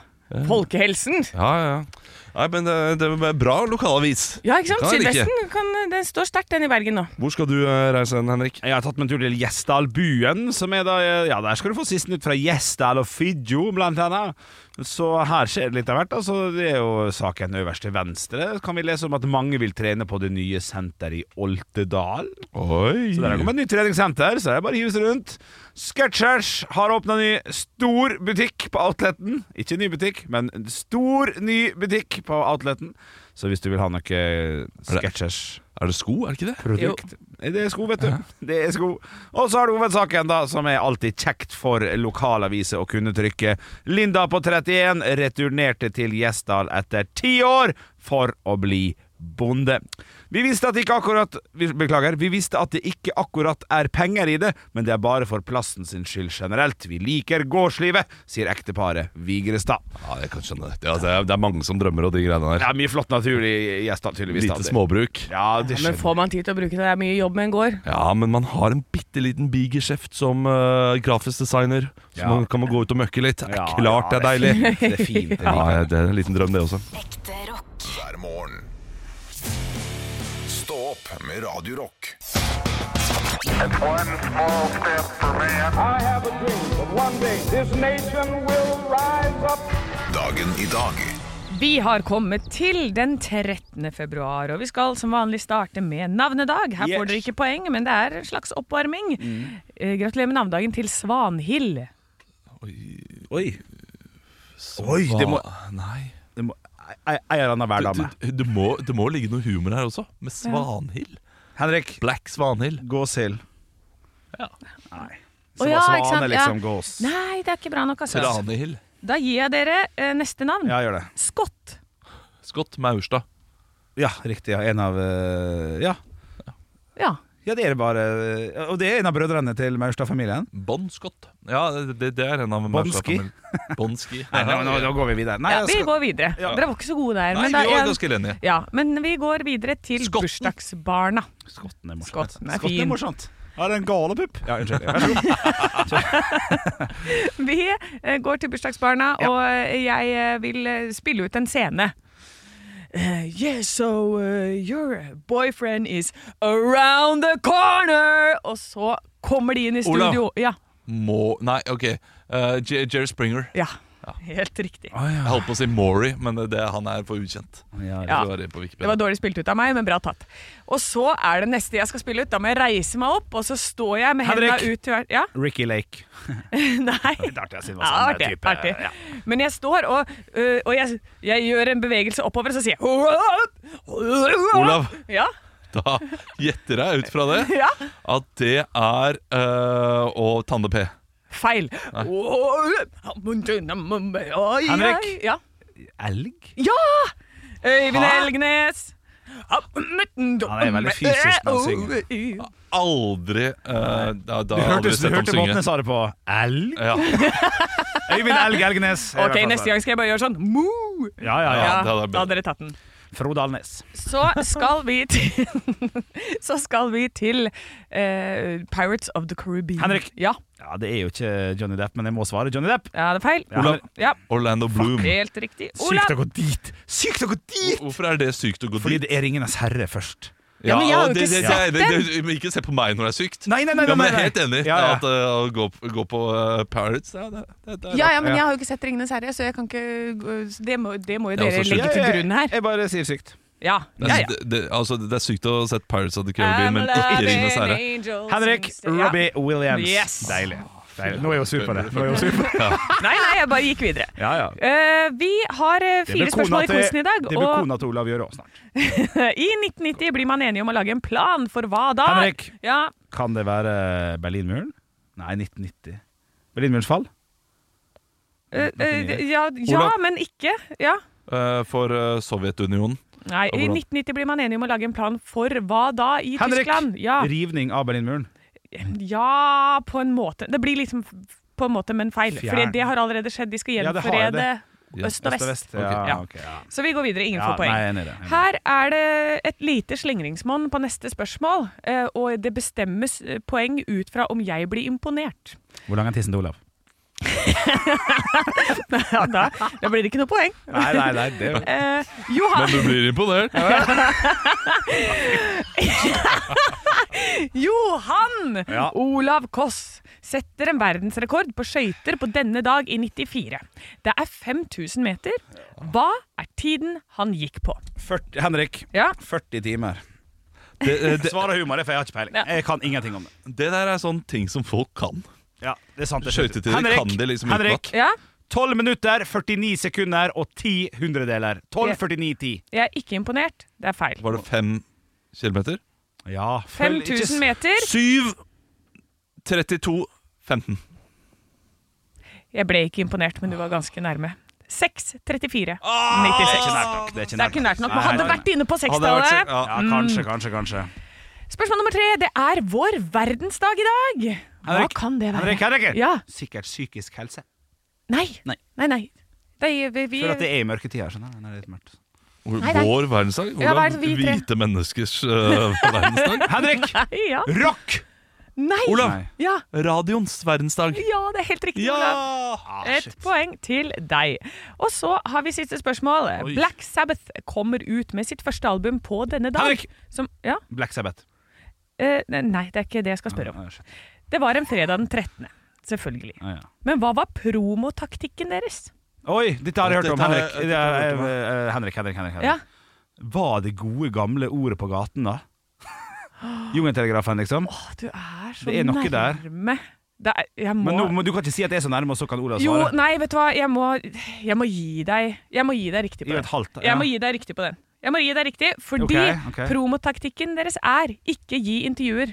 Speaker 4: Folkehelsen!
Speaker 3: Ja, ja. ja. Nei, men det, det er bra lokalavis.
Speaker 4: Ja, ikke sant?
Speaker 3: Kan jeg like.
Speaker 4: Sydvesten kan, eh, den står sterkt, den i Bergen nå.
Speaker 3: Hvor skal du eh, reise hen, Henrik?
Speaker 2: Jeg har tatt med en tur til Gjesdalbuen, som er da Ja, der skal du få siste nytt fra Gjesdal og Figgjo, blant annet. Så her skjer det litt av hvert. Altså, det er jo saken øverst til venstre. Kan vi lese om at mange vil trene på det nye senteret i Oltedal?
Speaker 3: Oi!
Speaker 2: Så der har kommet et nytt treningssenter, så det er bare å hive seg rundt. Skechers har åpna ny stor butikk på Outleten. Ikke ny butikk, men en stor ny butikk på Outleten. Så hvis du vil ha noe Skechers
Speaker 3: Er det sko, er det ikke det?
Speaker 2: produkt. Det er sko, vet du. Det er sko. Og så har du hovedsaken, da, som er alltid kjekt for lokalaviser å kunne trykke. Linda på 31 returnerte til Gjesdal etter ti år for å bli bonde. Vi visste at det ikke akkurat vi- Beklager. Vi visste at det ikke akkurat er penger i det, men det er bare for plassen sin skyld generelt. Vi liker gårdslivet, sier ekteparet Vigrestad.
Speaker 3: Ja, jeg kan skjønne det. Ja, det, er, det er mange som drømmer om de greiene
Speaker 2: Det
Speaker 3: der.
Speaker 2: er mye flott natur i Gjesdal, tydeligvis. da.
Speaker 3: Lite småbruk.
Speaker 2: Ja, det
Speaker 4: Men
Speaker 2: skjønner
Speaker 4: får man tid til å bruke det? Det er mye jobb med en gård.
Speaker 3: Ja, men man har en bitte liten bigeskjeft som eh, grafisk designer. Så
Speaker 2: Ja.
Speaker 3: man kan man gå ut og møkke litt. Det er
Speaker 2: Ja,
Speaker 3: klart
Speaker 2: ja,
Speaker 3: det er deilig.
Speaker 2: jeg. Det er fint. det
Speaker 3: Ja,
Speaker 2: liker jeg.
Speaker 3: ja, det er en liten drøm, det også.
Speaker 1: hver morgen. Stå opp med Radio Rock.
Speaker 5: One small step for man. I have a dream that one day this nation will rise up.
Speaker 1: Dagen i dag
Speaker 4: Vi har kommet til den 13. februar, og vi skal som vanlig starte med navnedag. Her
Speaker 2: Yes. Mm.
Speaker 4: får dere ikke poeng, men det er en slags oppvarming. Eh, Gratulerer med navnedagen til Svanhild.
Speaker 2: Oi.
Speaker 3: som
Speaker 2: Oi, det må-
Speaker 3: var- Nei.
Speaker 2: Det må, e- ei- ei- ei eller annen hver
Speaker 3: Du,
Speaker 2: dame.
Speaker 3: du, du må, det må ligge noe humor her også, med Svanhild.
Speaker 2: Henrik,
Speaker 3: Black Svanhild.
Speaker 2: gåshild.
Speaker 3: Ja.
Speaker 2: Nei.
Speaker 4: Å
Speaker 2: Som
Speaker 4: ja,
Speaker 2: var
Speaker 4: ikke sant,
Speaker 2: svane, liksom.
Speaker 4: ja.
Speaker 2: Gås.
Speaker 4: Nei, det er ikke bra nok, altså.
Speaker 3: Tranehild.
Speaker 4: Da gir jeg dere eh, neste navn.
Speaker 2: Ja, gjør det.
Speaker 4: Scott.
Speaker 3: Scott Maurstad.
Speaker 2: Ja, riktig. Ja. En av eh, Ja.
Speaker 4: Ja.
Speaker 2: Ja, det er bare ja, Og det er en av brødrene til Maurstad-familien?
Speaker 3: Bon Scott. Ja, det, det er en av
Speaker 2: Bonski.
Speaker 3: Maurstad-familien. Bonski.
Speaker 2: Nei, nå, nå, nå går vi videre. Nei,
Speaker 4: ja,
Speaker 2: jeg
Speaker 4: vi
Speaker 2: skal-
Speaker 4: går videre.
Speaker 2: Ja.
Speaker 4: Dere var ikke så gode der.
Speaker 3: Nei,
Speaker 4: men
Speaker 3: vi
Speaker 4: da-
Speaker 3: var
Speaker 4: ja,
Speaker 3: ganske enige.
Speaker 4: ja, men vi går videre til
Speaker 3: Skotten.
Speaker 4: bursdagsbarna.
Speaker 2: Skotten er morsomt.
Speaker 4: Skotten er
Speaker 2: Skotten
Speaker 4: fin.
Speaker 2: morsomt. Har en galepupp. Ja, unnskyld. Vær så god.
Speaker 4: Vi eh, går til bursdagsbarna, og eh, jeg eh, vil eh, spille ut en scene. Uh, yeah, so uh, your boyfriend is around the corner! Og så kommer de inn i
Speaker 3: Ola.
Speaker 4: studio. Ja,
Speaker 3: Må Nei, OK. Eh, Jer- Jerry Springer.
Speaker 4: ja, helt riktig.
Speaker 3: Jeg holdt på å si Maury, men det, det, han er for ukjent.
Speaker 4: Ja.
Speaker 3: Det var det på
Speaker 4: Det
Speaker 3: Wikipedia.
Speaker 4: var dårlig spilt ut av meg, men bra tatt. Og så er det neste jeg skal spille ut. Da må jeg reise meg opp, og så står jeg med
Speaker 2: Henrik.
Speaker 4: hendene ut til hver Ja?
Speaker 2: Ricky Lake.
Speaker 4: Nei.
Speaker 2: Litt artig å si hva
Speaker 4: Ja,
Speaker 2: sånn
Speaker 4: artig.
Speaker 2: type
Speaker 4: artig.
Speaker 2: ja.
Speaker 4: Men jeg står og, øh, og jeg, jeg gjør en bevegelse oppover, og så sier jeg
Speaker 3: Olav.
Speaker 4: Ja,
Speaker 3: Da gjetter jeg ut fra det
Speaker 4: ja.
Speaker 3: at det er eh, og Tande P.
Speaker 4: Feil. Henrik. Ja.
Speaker 2: Elg?
Speaker 4: Øyvind Elgenes. Han
Speaker 2: er veldig fysisk når han synger.
Speaker 3: Aldri eh, da, da
Speaker 2: Du
Speaker 3: har jeg
Speaker 2: hørte,
Speaker 3: aldri
Speaker 2: du
Speaker 3: sett ham
Speaker 2: hørte måten
Speaker 3: synge.
Speaker 2: jeg sa det på. Elg?
Speaker 3: Ja,
Speaker 2: Øyvind Elg Elgenes.
Speaker 4: Ok, neste gang skal jeg bare gjøre sånn Moo!
Speaker 2: Ja, ja, ja.
Speaker 3: Ja.
Speaker 4: Ja,
Speaker 3: det hadde vært
Speaker 4: da hadde dere tatt den.
Speaker 2: Frode Alnes.
Speaker 4: Så skal vi til Så skal vi til eh, Pirates of the Caribbean.
Speaker 2: Henrik.
Speaker 4: Ja,
Speaker 2: Ja, det er jo ikke Johnny Depp, men jeg må svare Johnny Depp.
Speaker 4: ja det er feil.
Speaker 2: Ja, Olav.
Speaker 4: Ja,
Speaker 3: Orlando Bloom.
Speaker 4: helt riktig.
Speaker 2: Sykt
Speaker 4: Olav.
Speaker 2: å gå dit! Sykt å gå dit!
Speaker 3: Hvorfor er det sykt å gå
Speaker 2: Fordi
Speaker 3: dit?
Speaker 2: det er Ringenes herre først.
Speaker 4: Ja, men jeg har jo
Speaker 3: og det-
Speaker 4: ikke
Speaker 3: det-
Speaker 4: sett
Speaker 3: det- det- det- Ikke se på meg når jeg er sykt.
Speaker 2: Nei, nei, nei,
Speaker 3: ja, men
Speaker 2: nei,
Speaker 3: jeg er
Speaker 2: nei.
Speaker 3: helt enig.
Speaker 2: Ja, ja.
Speaker 3: At eh, å gå, gå på uh, Pirates ja, det, det, det, er
Speaker 4: Ja,
Speaker 3: rart.
Speaker 4: ja, men
Speaker 2: Ja.
Speaker 4: jeg har jo ikke sett 'Ringenes herre', så jeg kan ikke så Det må, det må jo
Speaker 3: Det er
Speaker 4: dere
Speaker 3: også
Speaker 4: legge
Speaker 3: skjønt.
Speaker 4: til grunn her.
Speaker 2: Jeg sånn bare sier sykt.
Speaker 4: Ja,
Speaker 3: Det
Speaker 4: ja,
Speaker 3: er-
Speaker 4: ja.
Speaker 3: Det, det, altså, det er sykt å ha sett Pirates of the Caribbean, men ikke Ringenes herre.
Speaker 2: Henrik Robbie Williams.
Speaker 4: Yes.
Speaker 2: Deilig. Deilig. Nå er jeg jo sur på det. Nå er jeg jo sur på det.
Speaker 4: Nei, nei, jeg bare gikk videre.
Speaker 2: Ja, ja.
Speaker 4: Eh, vi har eh,
Speaker 2: Det bør
Speaker 4: fire spørsmål i
Speaker 2: kona til-
Speaker 4: quizen i dag,
Speaker 2: Det bør
Speaker 4: og
Speaker 2: kona til Olav gjøre òg snart.
Speaker 4: i 1990 blir man enige om å lage en plan for hva da?
Speaker 2: Henrik.
Speaker 4: Ja,
Speaker 2: Kan det være Berlinmuren? Nei, 1990. Berlinmurens fall?
Speaker 4: eh, eh,
Speaker 2: 1999.
Speaker 4: ja, ja
Speaker 3: Olav.
Speaker 4: men ikke. Ja.
Speaker 3: Eh, for eh, Sovjetunionen.
Speaker 4: Nei, i
Speaker 3: Hvordan?
Speaker 4: 1990 blir man enige om å lage en plan for hva da i
Speaker 2: Henrik!
Speaker 4: Tyskland? Ja.
Speaker 2: Rivning av Berlinmuren.
Speaker 4: ja, på en måte. Det blir liksom f- på en måte, men feil. For
Speaker 2: Fjern.
Speaker 4: det har allerede skjedd. De skal
Speaker 2: Ja, det har
Speaker 4: gjenforene
Speaker 2: det. Øst
Speaker 4: øst og
Speaker 2: og
Speaker 4: vest.
Speaker 2: vest. Ja,
Speaker 4: Ja.
Speaker 2: ok. Ja.
Speaker 4: Så vi går videre. Ingen
Speaker 2: Ja,
Speaker 4: får poeng.
Speaker 2: nei, jeg er enig i det. Jeg er enig.
Speaker 4: Her er det et lite slingringsmonn på neste spørsmål, eh, og det bestemmes eh, poeng ut fra om jeg blir imponert.
Speaker 2: Hvor lang er tissen til Olav?
Speaker 4: Ja, da, da blir det ikke noe poeng.
Speaker 2: Nei, nei, nei, det
Speaker 4: Eh,
Speaker 3: Men
Speaker 4: Johan,
Speaker 3: du blir imponert.
Speaker 4: Johan
Speaker 2: Ja.
Speaker 4: Olav Koss setter en verdensrekord på skøyter på denne dag i 94. Det er 5000 meter. Hva er tiden han gikk på?
Speaker 2: 40, Henrik.
Speaker 4: Ja.
Speaker 2: 40 timer.
Speaker 3: Det, eh, det,
Speaker 2: Svarer humor, det, for jeg har ikke peiling.
Speaker 4: Ja.
Speaker 2: Jeg kan ingenting om det.
Speaker 3: det der er sånn ting som folk kan.
Speaker 2: Ja, det er sant. det er sant.
Speaker 3: Skøytetid
Speaker 2: Henrik,
Speaker 3: kan de liksom
Speaker 2: Henrik,
Speaker 3: utenat.
Speaker 4: Ja,
Speaker 2: 12 minutter, 49 sekunder og 10 hundredeler. 12, 49, 10.
Speaker 4: jeg er ikke imponert. Det er feil.
Speaker 3: Var det fem kilometer?
Speaker 2: Ja, følg ikke s-
Speaker 4: 5000 meter.
Speaker 3: Syv 32 15.
Speaker 4: Jeg ble ikke imponert, men du var ganske nærme. 6.34,96.
Speaker 2: Ah, Det er ikke nært nok. Det er ikke
Speaker 4: Det er ikke nært nok, men
Speaker 2: Nei,
Speaker 4: hadde
Speaker 2: nei,
Speaker 4: vært inne på
Speaker 3: Hadde jeg vært
Speaker 4: sekstallet.
Speaker 3: så- ja.
Speaker 2: Ja, mm. kanskje, kanskje, kanskje.
Speaker 4: Spørsmål nummer tre. Det er vår verdensdag i dag. Hva
Speaker 2: Henrik,
Speaker 4: kan det
Speaker 2: Henrik,
Speaker 4: være?
Speaker 2: Henrik!
Speaker 4: Ja.
Speaker 2: Sikkert psykisk helse.
Speaker 4: Nei.
Speaker 2: Nei.
Speaker 4: Nei, nei. Det er, vi, vi,
Speaker 2: For at det er i mørketida. skjønner du? Nei, det er litt mørkt.
Speaker 4: Nei, nei.
Speaker 3: Vår verdensdag?
Speaker 4: Ja, hva
Speaker 3: Hvordan
Speaker 4: er det vi tre-
Speaker 3: hvite menneskers eh, verdensdag?
Speaker 2: Henrik!
Speaker 4: nei, ja.
Speaker 2: Rock!
Speaker 4: Nei.
Speaker 3: Olav!
Speaker 2: Nei.
Speaker 4: Ja.
Speaker 3: Radioens verdensdag.
Speaker 4: ja, det er helt riktig, Olav.
Speaker 3: Ja!
Speaker 2: Ah,
Speaker 4: Et poeng til deg. Og så har vi siste spørsmål.
Speaker 3: Oi.
Speaker 4: Black Sabbath kommer ut med sitt første album på denne dag.
Speaker 2: Henrik!
Speaker 4: Som, ja,
Speaker 2: Black Sabbath.
Speaker 4: eh, nei, det er ikke det jeg skal spørre om.
Speaker 2: Ah, shit.
Speaker 4: Det var en fredag den 13. Selvfølgelig.
Speaker 2: Ah, ja.
Speaker 4: Men hva var promotaktikken deres?
Speaker 2: Oi, dette har jeg hørt om,
Speaker 3: Dette har jeg-
Speaker 2: Henrik. Det
Speaker 3: dette har jeg
Speaker 2: er,
Speaker 3: hørt om.
Speaker 2: eh, Henrik, Henrik, Henrik, Henrik.
Speaker 4: Ja.
Speaker 2: Var det gode, gamle ordet på gaten, da? Jungeltelegrafen, liksom?
Speaker 4: Å, du er så
Speaker 2: Det er noe der.
Speaker 4: nærme. Det er, jeg må
Speaker 2: Men, nå, men du kan ikke si at det er så nærme, og så kan Ola
Speaker 4: Jo,
Speaker 2: svare.
Speaker 4: nei, vet du hva. Jeg må, jeg må gi deg Jeg må gi deg riktig på
Speaker 2: Gi
Speaker 4: den.
Speaker 2: et halvt, ja.
Speaker 4: Jeg må gi deg riktig på den. Jeg må gi deg riktig, fordi
Speaker 2: Ok, ok.
Speaker 4: promotaktikken deres er ikke gi intervjuer.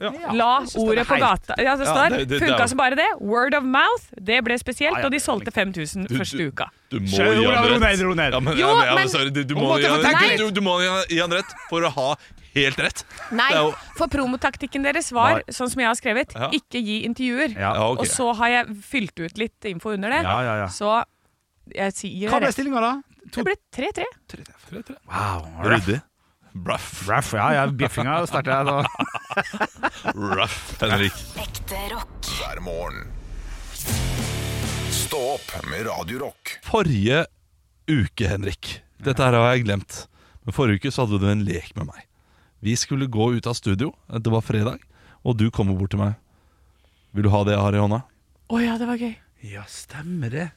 Speaker 2: Ja.
Speaker 4: La
Speaker 2: Jeg synes det er
Speaker 4: ordet på
Speaker 2: helt-
Speaker 4: gata. Ja, det
Speaker 3: Ja,
Speaker 4: står.
Speaker 3: det- det- det er jo-
Speaker 4: Funka som bare det. Word of mouth. Det ble spesielt,
Speaker 2: Ja, ja,
Speaker 4: og de
Speaker 2: ja,
Speaker 4: solgte 5000
Speaker 3: du-
Speaker 4: første uka.
Speaker 3: Du må
Speaker 2: Kjør,
Speaker 3: gi
Speaker 2: Ola,
Speaker 3: han
Speaker 2: ro
Speaker 3: rett.
Speaker 2: ned, ro ned.
Speaker 3: Ja, men,
Speaker 4: Jo,
Speaker 3: ja, men,
Speaker 6: men-
Speaker 3: ja, men sorry, du, du,
Speaker 2: Hun
Speaker 3: må
Speaker 2: måtte
Speaker 3: gi han,
Speaker 2: få tenke
Speaker 3: du,
Speaker 2: litt.
Speaker 3: du, du må gi han- gi han rett for å ha helt rett.
Speaker 6: Nei.
Speaker 3: Det er jo-
Speaker 4: For promotaktikken deres var,
Speaker 2: Nei.
Speaker 4: sånn som jeg har skrevet,
Speaker 3: Ja.
Speaker 4: ikke gi intervjuer.
Speaker 2: Ja.
Speaker 3: Ja, ok.
Speaker 4: Og så har jeg fylt ut litt info under det.
Speaker 2: Ja, ja, ja.
Speaker 4: Så jeg sier
Speaker 2: Hva ble
Speaker 4: rett.
Speaker 2: stillinga, da?
Speaker 4: Det ble 3-3.
Speaker 2: Wow,
Speaker 3: Ryddig. Ruff.
Speaker 2: Raff, ja, ja, bjeffinga starter jeg da.
Speaker 3: Ruff, Henrik.
Speaker 1: hver morgen. Stå opp med Radio Rock.
Speaker 3: Forrige uke, Henrik Dette her har jeg glemt Men forrige uke så hadde du en lek med meg Vi skulle gå ut av studio Det var fredag Og du kommer bort til meg Vil du ha det jeg har i hånda?
Speaker 4: Å ja, det var gøy.
Speaker 2: Ja, stemmer det.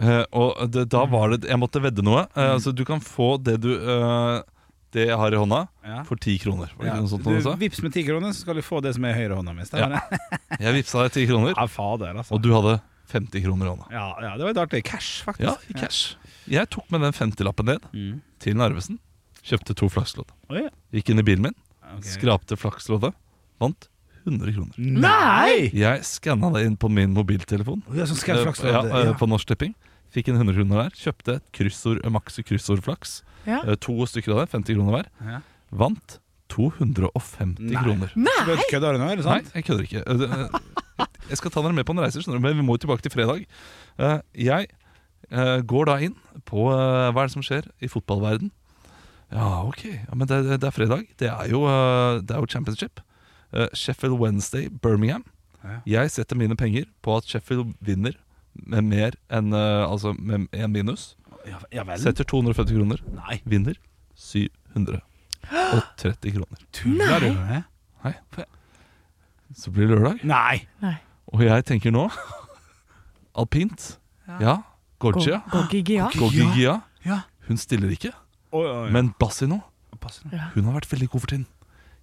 Speaker 3: Eh, og det, da var det Jeg måtte vedde noe Eh,
Speaker 2: Mm.
Speaker 3: Altså du kan få det du eh, Det jeg har i hånda
Speaker 2: Ja.
Speaker 3: For 10 kroner Var det
Speaker 2: Ja.
Speaker 3: ikke noe sånt han
Speaker 2: Du,
Speaker 3: sa?
Speaker 2: vips med ti kroner, så skal du få det som er i høyrehånda mi. Stemmer det?
Speaker 3: Jeg vipsa deg 10 kroner
Speaker 2: Ja, fader, altså.
Speaker 3: Og du hadde 50 kroner i hånda
Speaker 2: Ja, ja, det var litt artig. Cash, faktisk. Mm.
Speaker 3: Ja, i cash Jeg tok med den 50-lappen ned Til Narvesen Kjøpte to flakslodd
Speaker 2: Oi.
Speaker 3: Gikk inn i bilen min
Speaker 2: Ok.
Speaker 3: Skrapte flaksloddet, vant 100 kroner.
Speaker 2: Nei!
Speaker 3: Jeg skanna det inn på min mobiltelefon
Speaker 2: Å, Ja, sånn skal jeg flaks
Speaker 3: eh, ja,
Speaker 2: det.
Speaker 3: eh, på Norsk Tipping. Fikk en 100 kroner der. Kjøpte et kryssord, eh, maxi kryssordflaks.
Speaker 4: Ja.
Speaker 3: Eh, To stykker av det, 50 kroner hver.
Speaker 2: Ja.
Speaker 3: Vant 250
Speaker 2: Nei.
Speaker 3: kroner.
Speaker 2: Du vet, Kødder du nå, er det
Speaker 3: Nei,
Speaker 2: sant?
Speaker 3: jeg kødder ikke. Eh, det- eh, Jeg skal ta dere med på en reise, skjønner du, men vi må jo tilbake til fredag. Eh, Jeg eh, går da inn på eh, hva er det som skjer i fotballverden. Ja, ok, ja, men det, det- det er fredag. Det er jo, eh, det er jo championship. Eh, Sheffield Wednesday, Birmingham. Jeg setter mine penger på at Sheffield vinner med mer enn eh, altså med en minus.
Speaker 2: Ja, ja vel.
Speaker 3: Setter 250 kroner.
Speaker 2: Nei.
Speaker 3: Vinner 730 kroner.
Speaker 2: Tuller du med?
Speaker 3: Så blir det lørdag.
Speaker 2: Nei.
Speaker 3: Og jeg tenker nå Alpint Ja, Gorgia
Speaker 4: Goggigia.
Speaker 3: Gogigia
Speaker 2: Ja.
Speaker 3: Hun stiller ikke
Speaker 2: Oi, oi, oi.
Speaker 3: Men Bassino
Speaker 2: Pass nå.
Speaker 3: Hun har vært veldig god for tiden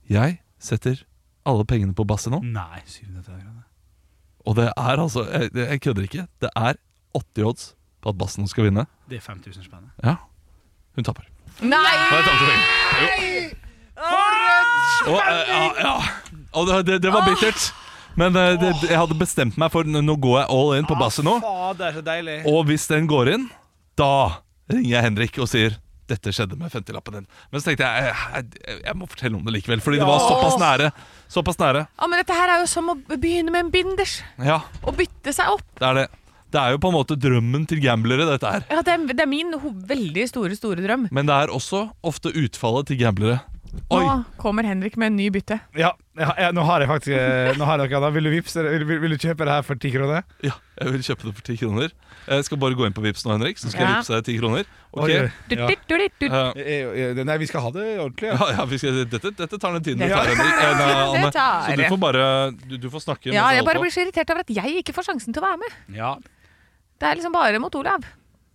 Speaker 3: Jeg setter alle pengene på Bassino
Speaker 2: Nei, 700 kroner.
Speaker 3: Og det er altså Jeg, jeg kødder ikke Det er 80 odds På at Bassino skal vinne
Speaker 2: Det er 5000 spenn.
Speaker 3: Ja Hun tapper
Speaker 6: Nei!
Speaker 3: Da er det tapte penger Og, eh, ja, ja. og det, det, det var bittert Men eh, det, jeg hadde bestemt meg for Nå går jeg all in på Bassino
Speaker 2: Fader, så deilig.
Speaker 3: Og hvis den går inn, da ringer jeg Henrik og sier dette skjedde med 50-lappen din. Men så tenkte jeg jeg, jeg jeg må fortelle om det likevel, fordi det var såpass nære. Såpass nære.
Speaker 4: Ja, men dette her er jo som å begynne med en binders
Speaker 3: Ja,
Speaker 4: og bytte seg opp.
Speaker 3: det er det. Det er jo på en måte drømmen til gamblere, dette her.
Speaker 4: Ja, det er, det er min ho veldig store, store drøm.
Speaker 3: Men det er også ofte utfallet til gamblere. Oi!
Speaker 4: Nå kommer Henrik med en ny bytte.
Speaker 2: Ja, ja, ja, nå har jeg faktisk eh, Nå har jeg noe annet. Vil du vippse? Vil, vil, vil du kjøpe det her for ti kroner?
Speaker 3: Ja, jeg vil kjøpe det for 10 kroner. Jeg skal bare gå inn på Vipps nå, Henrik, så skal jeg
Speaker 4: Ja.
Speaker 3: vippse deg 10 kroner.
Speaker 2: Hva
Speaker 3: Ok.
Speaker 2: gjør
Speaker 4: Du,
Speaker 2: Ja.
Speaker 4: du, du, du, du.
Speaker 3: Eh,
Speaker 2: Eh, eh, Nei, vi skal ha det ordentlig. Ja.
Speaker 3: ja, ja, vi skal, dette, dette tar den tiden det
Speaker 2: Ja.
Speaker 3: tar, Henrik. Eh, nei, Anne.
Speaker 4: Det tar.
Speaker 3: Så du får bare Du, du får snakke. mens
Speaker 4: Ja, jeg
Speaker 3: holder
Speaker 4: bare
Speaker 3: på.
Speaker 4: blir så irritert over at jeg ikke får sjansen til å være med.
Speaker 2: Ja.
Speaker 4: Det er liksom bare mot Olav.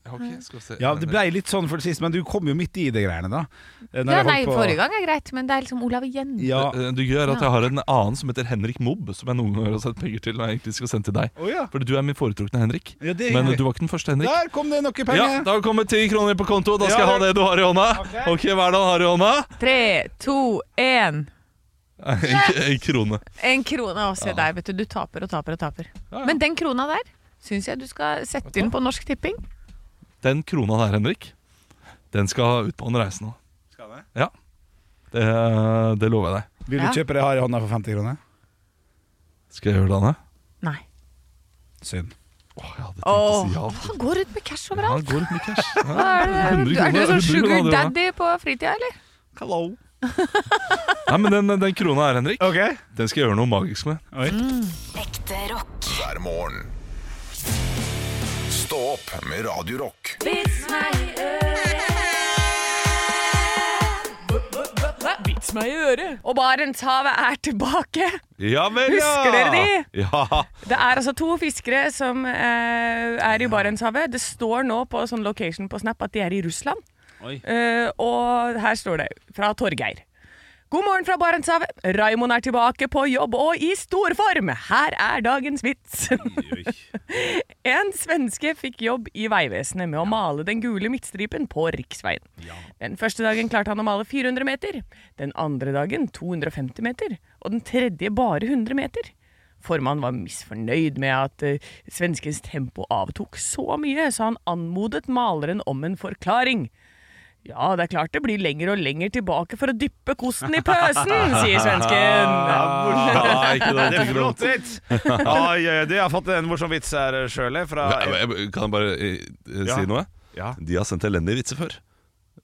Speaker 3: Ja, ok, skal vi se.
Speaker 2: ja, det ble litt sånn for det siste, men du kom jo midt i de greiene, da. Eh, når
Speaker 4: Ja,
Speaker 2: jeg
Speaker 4: nei,
Speaker 2: holdt på-
Speaker 4: forrige gang er greit, men det er liksom Olav igjen.
Speaker 2: Ja.
Speaker 3: Det det gøy er at jeg har en annen som heter Henrik Mobb, som jeg noen ganger har sendt penger til. Og jeg egentlig skal sende til deg
Speaker 2: Å, ja.
Speaker 3: Fordi du er min foretrukne Henrik.
Speaker 2: Ja, det er
Speaker 3: Men
Speaker 2: hyggelig.
Speaker 3: du var ikke den første Henrik.
Speaker 2: Der kom det noe penger!
Speaker 3: Ja, Da har det kommet ti kroner på konto. Da skal
Speaker 2: Ja,
Speaker 3: jeg ha det du har i hånda. Ok, Hva er det han har i hånda?
Speaker 4: Tre, to, én.
Speaker 3: En, en krone.
Speaker 4: En krone. Å, se der, vet du. Du taper og taper og taper. Men den krona der syns jeg du skal sette inn på Norsk Tipping.
Speaker 3: Den krona der, Henrik, den skal ut på en reise nå.
Speaker 2: Skal
Speaker 3: Ja. Det, det lover jeg deg.
Speaker 2: Vil du
Speaker 4: Ja.
Speaker 2: kjøpe det jeg har i hånda for 50 kroner?
Speaker 3: Skal jeg gjøre det, Anne?
Speaker 4: Nei.
Speaker 2: Synd.
Speaker 3: Åh, jeg hadde tenkt å
Speaker 4: Åh,
Speaker 3: si ja.
Speaker 4: han går rundt med cash overalt.
Speaker 3: Han går ut med cash. Ja.
Speaker 4: Hva er det? Er
Speaker 3: 100
Speaker 4: du-
Speaker 3: kroner,
Speaker 4: Er
Speaker 3: 100
Speaker 4: du sånn
Speaker 3: kroner
Speaker 4: sugar
Speaker 3: hadde du da.
Speaker 4: daddy på fritida, eller?
Speaker 2: Hello.
Speaker 3: Nei, men den, den krona her, Henrik,
Speaker 2: Ok.
Speaker 3: den skal jeg gjøre noe magisk med.
Speaker 2: Oi.
Speaker 1: hver morgen. Stå opp med Radio Rock.
Speaker 4: Vits meg i øret. Og Barentshavet er tilbake.
Speaker 3: Ja vel, ja!
Speaker 4: Husker dere de?
Speaker 3: Ja.
Speaker 4: Det er altså to fiskere som eh, er i Barentshavet. Det står nå på sånn location på Snap at de er i Russland. Eh, og her står det fra Torgeir. God morgen fra Barentshavet. Raimond er tilbake på jobb og i storform. Her er dagens vits. En svenske fikk jobb i Vegvesenet med å male den gule midtstripen på riksveien. Den første dagen klarte han å male 400 meter, den andre dagen 250 meter, og den tredje bare 100 meter. Formannen var misfornøyd med at eh, svenskens tempo avtok så mye, så han anmodet maleren om en forklaring. Ja, det er klart det blir lenger og lenger tilbake for å dyppe kosten i pøsen, sier svensken.
Speaker 2: Ja, ikke det, det er flott vits! Oi, oi, oi, du, jeg har fått en morsom vits her sjøl, fra
Speaker 3: Jeg, jeg, kan jeg bare eh, eh,
Speaker 2: Ja.
Speaker 3: si noe?
Speaker 2: Ja.
Speaker 3: De har sendt elendige vitser før.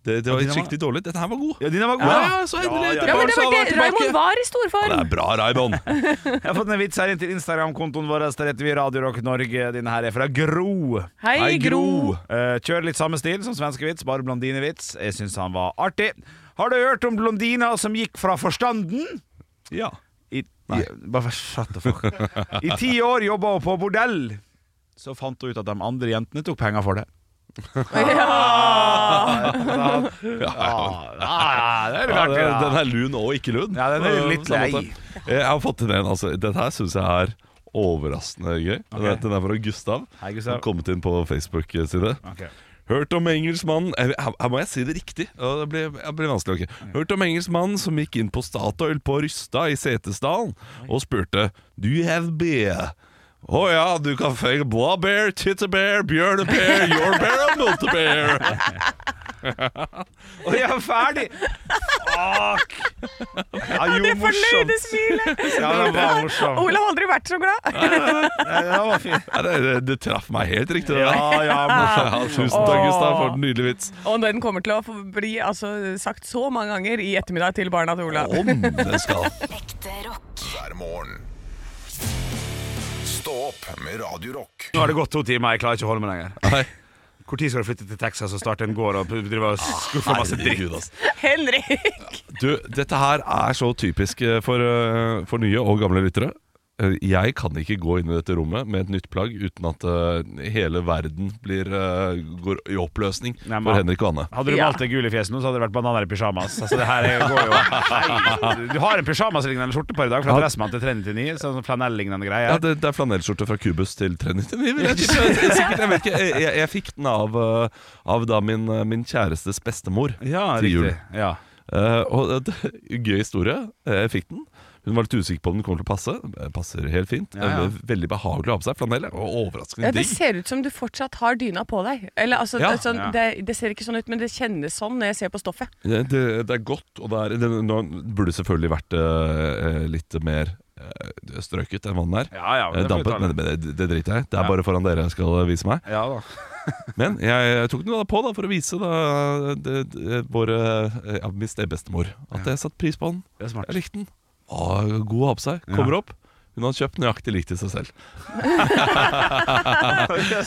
Speaker 3: Det, det var
Speaker 2: dine var-
Speaker 3: skikkelig dårlig. Denne her var god.
Speaker 2: Ja, dine var gode.
Speaker 3: Ja, ja, så endelig
Speaker 2: Ja, ja, ja.
Speaker 4: Ja, men det
Speaker 3: tilbake, så
Speaker 4: var det.
Speaker 3: han var tilbake.
Speaker 4: Raymond var i
Speaker 3: Det
Speaker 4: storform.
Speaker 3: er bra, Raymond.
Speaker 2: Jeg har fått en vits her inn til Instagram-kontoen vår. Der heter vi Radio Rock Norge. Denne her er fra Gro.
Speaker 4: Hei,
Speaker 3: Hei,
Speaker 4: Gro.
Speaker 3: Gro.
Speaker 2: Eh, kjør litt samme stil som svenskevits, bare blondinevits. Jeg syns han var artig. Har du hørt om blondina som gikk fra forstanden?
Speaker 3: Ja.
Speaker 2: I, i, bare shut the fuck. I ti år jobba hun på bordell. Så fant hun ut at de andre jentene tok penger for det. Ja, ja, det er
Speaker 3: Ja,
Speaker 2: klart,
Speaker 3: det,
Speaker 2: ja.
Speaker 3: den er lun og ikke lun.
Speaker 2: Ja, den er
Speaker 3: På
Speaker 2: litt
Speaker 3: samme
Speaker 2: lei.
Speaker 3: måte. Eh, Jeg har fått inn en. Altså, den her syns jeg er overraskende gøy. Den, er, den er fra Gustav.
Speaker 2: Hei, Gustav.
Speaker 3: Han har kommet inn på eh, Facebook-side.
Speaker 2: Ok.
Speaker 3: Hørt om engelskmannen eh, her, her må jeg si det riktig. Ja, Det blir, det blir vanskelig. ok. Hørt om engelskmannen som gikk inn på Statoil på Rysta i Setesdalen og spurte Do you have beer? Å ja, du kan fenge blåbær, tittebear, bjørnebear, jordbær og multebear.
Speaker 2: Og jeg er ferdig! Fuck! Ja, jo,
Speaker 4: Det
Speaker 2: morsomt.
Speaker 4: fornøyde smilet.
Speaker 2: Ja, det var morsomt.
Speaker 4: Olav har aldri vært så glad.
Speaker 2: Ja, det var fint.
Speaker 3: Ja, det, det, det traff meg helt riktig. det der.
Speaker 2: Ja, ja,
Speaker 3: Ja,
Speaker 2: morsomt.
Speaker 3: tusen takk, Gustav, for en nydelig vits.
Speaker 4: Og den kommer til å få bli altså, sagt så mange ganger i ettermiddag til barna til Olav.
Speaker 3: Om det skal.
Speaker 1: hver morgen. Stå opp med Radio Rock.
Speaker 2: Nå har det gått to timer, jeg klarer ikke å holde meg lenger.
Speaker 3: Nei. Ah,
Speaker 2: Når skal du flytte til Texas og starte en gård og drive og skuffe masse dritt?
Speaker 3: Herregud, altså.
Speaker 4: Henrik!
Speaker 3: Du, dette her er så typisk eh, for, eh, for nye og gamle lyttere. Eh, Jeg kan ikke gå inn i dette rommet med et nytt plagg uten at eh, hele verden blir, eh, går i oppløsning
Speaker 2: Nei, men-
Speaker 3: for Henrik og Anne.
Speaker 2: Hadde du
Speaker 4: Ja.
Speaker 2: malt deg gul i fjeset nå, så hadde det vært bananer i pysjamas. Altså, det her er- går jo Nei, Du har en pysjamaslignende skjorte på i dag, fra
Speaker 3: Ja.
Speaker 2: Dressmann til 399. Sånn flanellignende greie.
Speaker 3: Ja, det, det er flanellskjorte fra Cubus til 399. vil Jeg, si. Det er sikkert, jeg, vet ikke, jeg, jeg, jeg fikk den av, eh, av da min, eh, min kjærestes bestemor
Speaker 2: Ja,
Speaker 3: til jul.
Speaker 2: riktig. Ja.
Speaker 3: Eh, og det, Gøy historie. Eh, Jeg fikk den. Hun var litt usikker på om den kommer til å passe. Eh, Passer helt fint.
Speaker 2: Ja, ja.
Speaker 3: Eh, Veldig behagelig å ha på seg. Flanell er jo overraskende
Speaker 4: Ja, det
Speaker 3: digg.
Speaker 4: ser ut som du fortsatt har dyna på deg. Eller, altså,
Speaker 3: Ja.
Speaker 4: det, er sånn,
Speaker 2: Ja.
Speaker 4: det, det ser ikke sånn ut, men det kjennes sånn når jeg ser på stoffet.
Speaker 3: Ja, Det, det er godt, og det, er, det, nå burde selvfølgelig vært eh, litt mer eh, strøket enn vannet er.
Speaker 2: Ja, ja, men
Speaker 3: Eh,
Speaker 2: det får vi
Speaker 3: dampet,
Speaker 2: ta
Speaker 3: men
Speaker 2: litt.
Speaker 3: men det, det driter jeg i. Det er
Speaker 2: Ja.
Speaker 3: bare foran dere jeg skal vise meg.
Speaker 2: Ja da.
Speaker 3: Men jeg, jeg tok den da på da for å vise da, det, det, vår, eh, ja, min stebestemor at jeg satte pris på den.
Speaker 2: Det er smart.
Speaker 3: Jeg likte den. Å, god å ha på seg. Kommer opp. Hun har kjøpt nøyaktig lik til seg selv.
Speaker 4: Å,
Speaker 3: ja.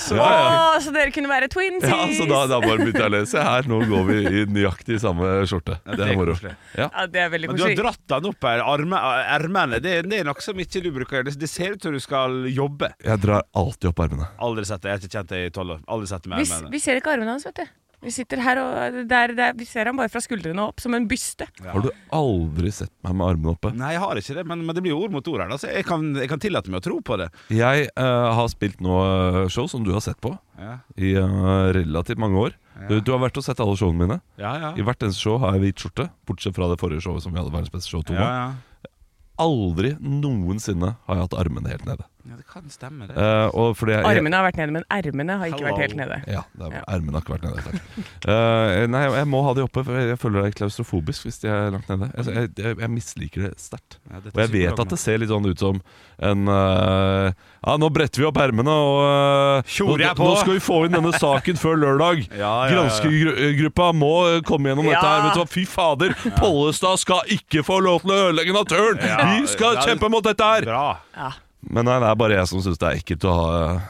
Speaker 4: så dere kunne være twinsies!
Speaker 3: Ja,
Speaker 2: altså,
Speaker 3: så da, da bare begynte jeg å lese. Her, nå går vi i nøyaktig samme skjorte. Det
Speaker 2: det er
Speaker 3: er moro.
Speaker 2: koselig.
Speaker 3: Ja.
Speaker 4: Ja, det er veldig
Speaker 2: Men du har
Speaker 4: koselig.
Speaker 2: dratt den opp her, arme- ermene. Det, det er noe som ikke du bruker å gjøre. Det- Det ser ut som du skal jobbe.
Speaker 3: Jeg drar alltid opp armene.
Speaker 2: Aldri sett det. Jeg har ikke kjent det i tolv år. Aldri sett det med
Speaker 4: Vi, s-
Speaker 2: ermene.
Speaker 4: vi ser ikke armene hans, vet du. Vi sitter her og der, der, Vi ser ham bare fra skuldrene og opp, som en byste.
Speaker 3: Har du aldri sett meg med armene oppe?
Speaker 2: Nei, jeg har ikke det, men, men det blir jo ord mot ord her. da, så jeg kan, jeg kan tillate meg å tro på det.
Speaker 3: Jeg eh, har spilt nå eh, show som du har sett på
Speaker 2: Ja,
Speaker 3: i eh, relativt mange år. Du, du har vært og sett alle showene mine.
Speaker 2: ja. ja.
Speaker 3: I hvert eneste show har jeg hvit skjorte, bortsett fra det forrige showet som vi hadde verdens beste show to
Speaker 2: ja,
Speaker 3: om.
Speaker 2: ja.
Speaker 3: Aldri noensinne har jeg hatt armene helt nede.
Speaker 2: Ja, det kan stemme, det.
Speaker 3: Eh, og fordi jeg,
Speaker 4: Armene har vært nede, men ermene har ikke
Speaker 2: Hello.
Speaker 4: vært helt nede.
Speaker 3: Ja, det er,
Speaker 4: Ja.
Speaker 3: ermene har ikke vært nede. Takk. Eh, nei, jeg må ha de oppe, for jeg føler det er klaustrofobisk hvis de er langt nede. Altså, jeg, jeg, jeg misliker det sterkt.
Speaker 2: Ja, dette
Speaker 3: Og jeg vet at det ser litt sånn ut som en eh, Ja, nå bretter vi opp ermene, og eh,
Speaker 2: Tjorer jeg
Speaker 3: nå,
Speaker 2: på!»
Speaker 3: nå skal vi få inn denne saken før lørdag.
Speaker 2: Ja, ja, ja, ja.
Speaker 3: Granskergruppa må eh, komme gjennom dette her.
Speaker 4: Ja.
Speaker 3: Vet du hva, Fy fader! Pollestad skal ikke få lov til å ødelegge naturen!
Speaker 2: Ja,
Speaker 3: vi skal
Speaker 2: ja,
Speaker 3: kjempe mot dette her!
Speaker 2: Bra.
Speaker 3: Men nei, det er bare jeg som syns det er ekkelt å ha eh,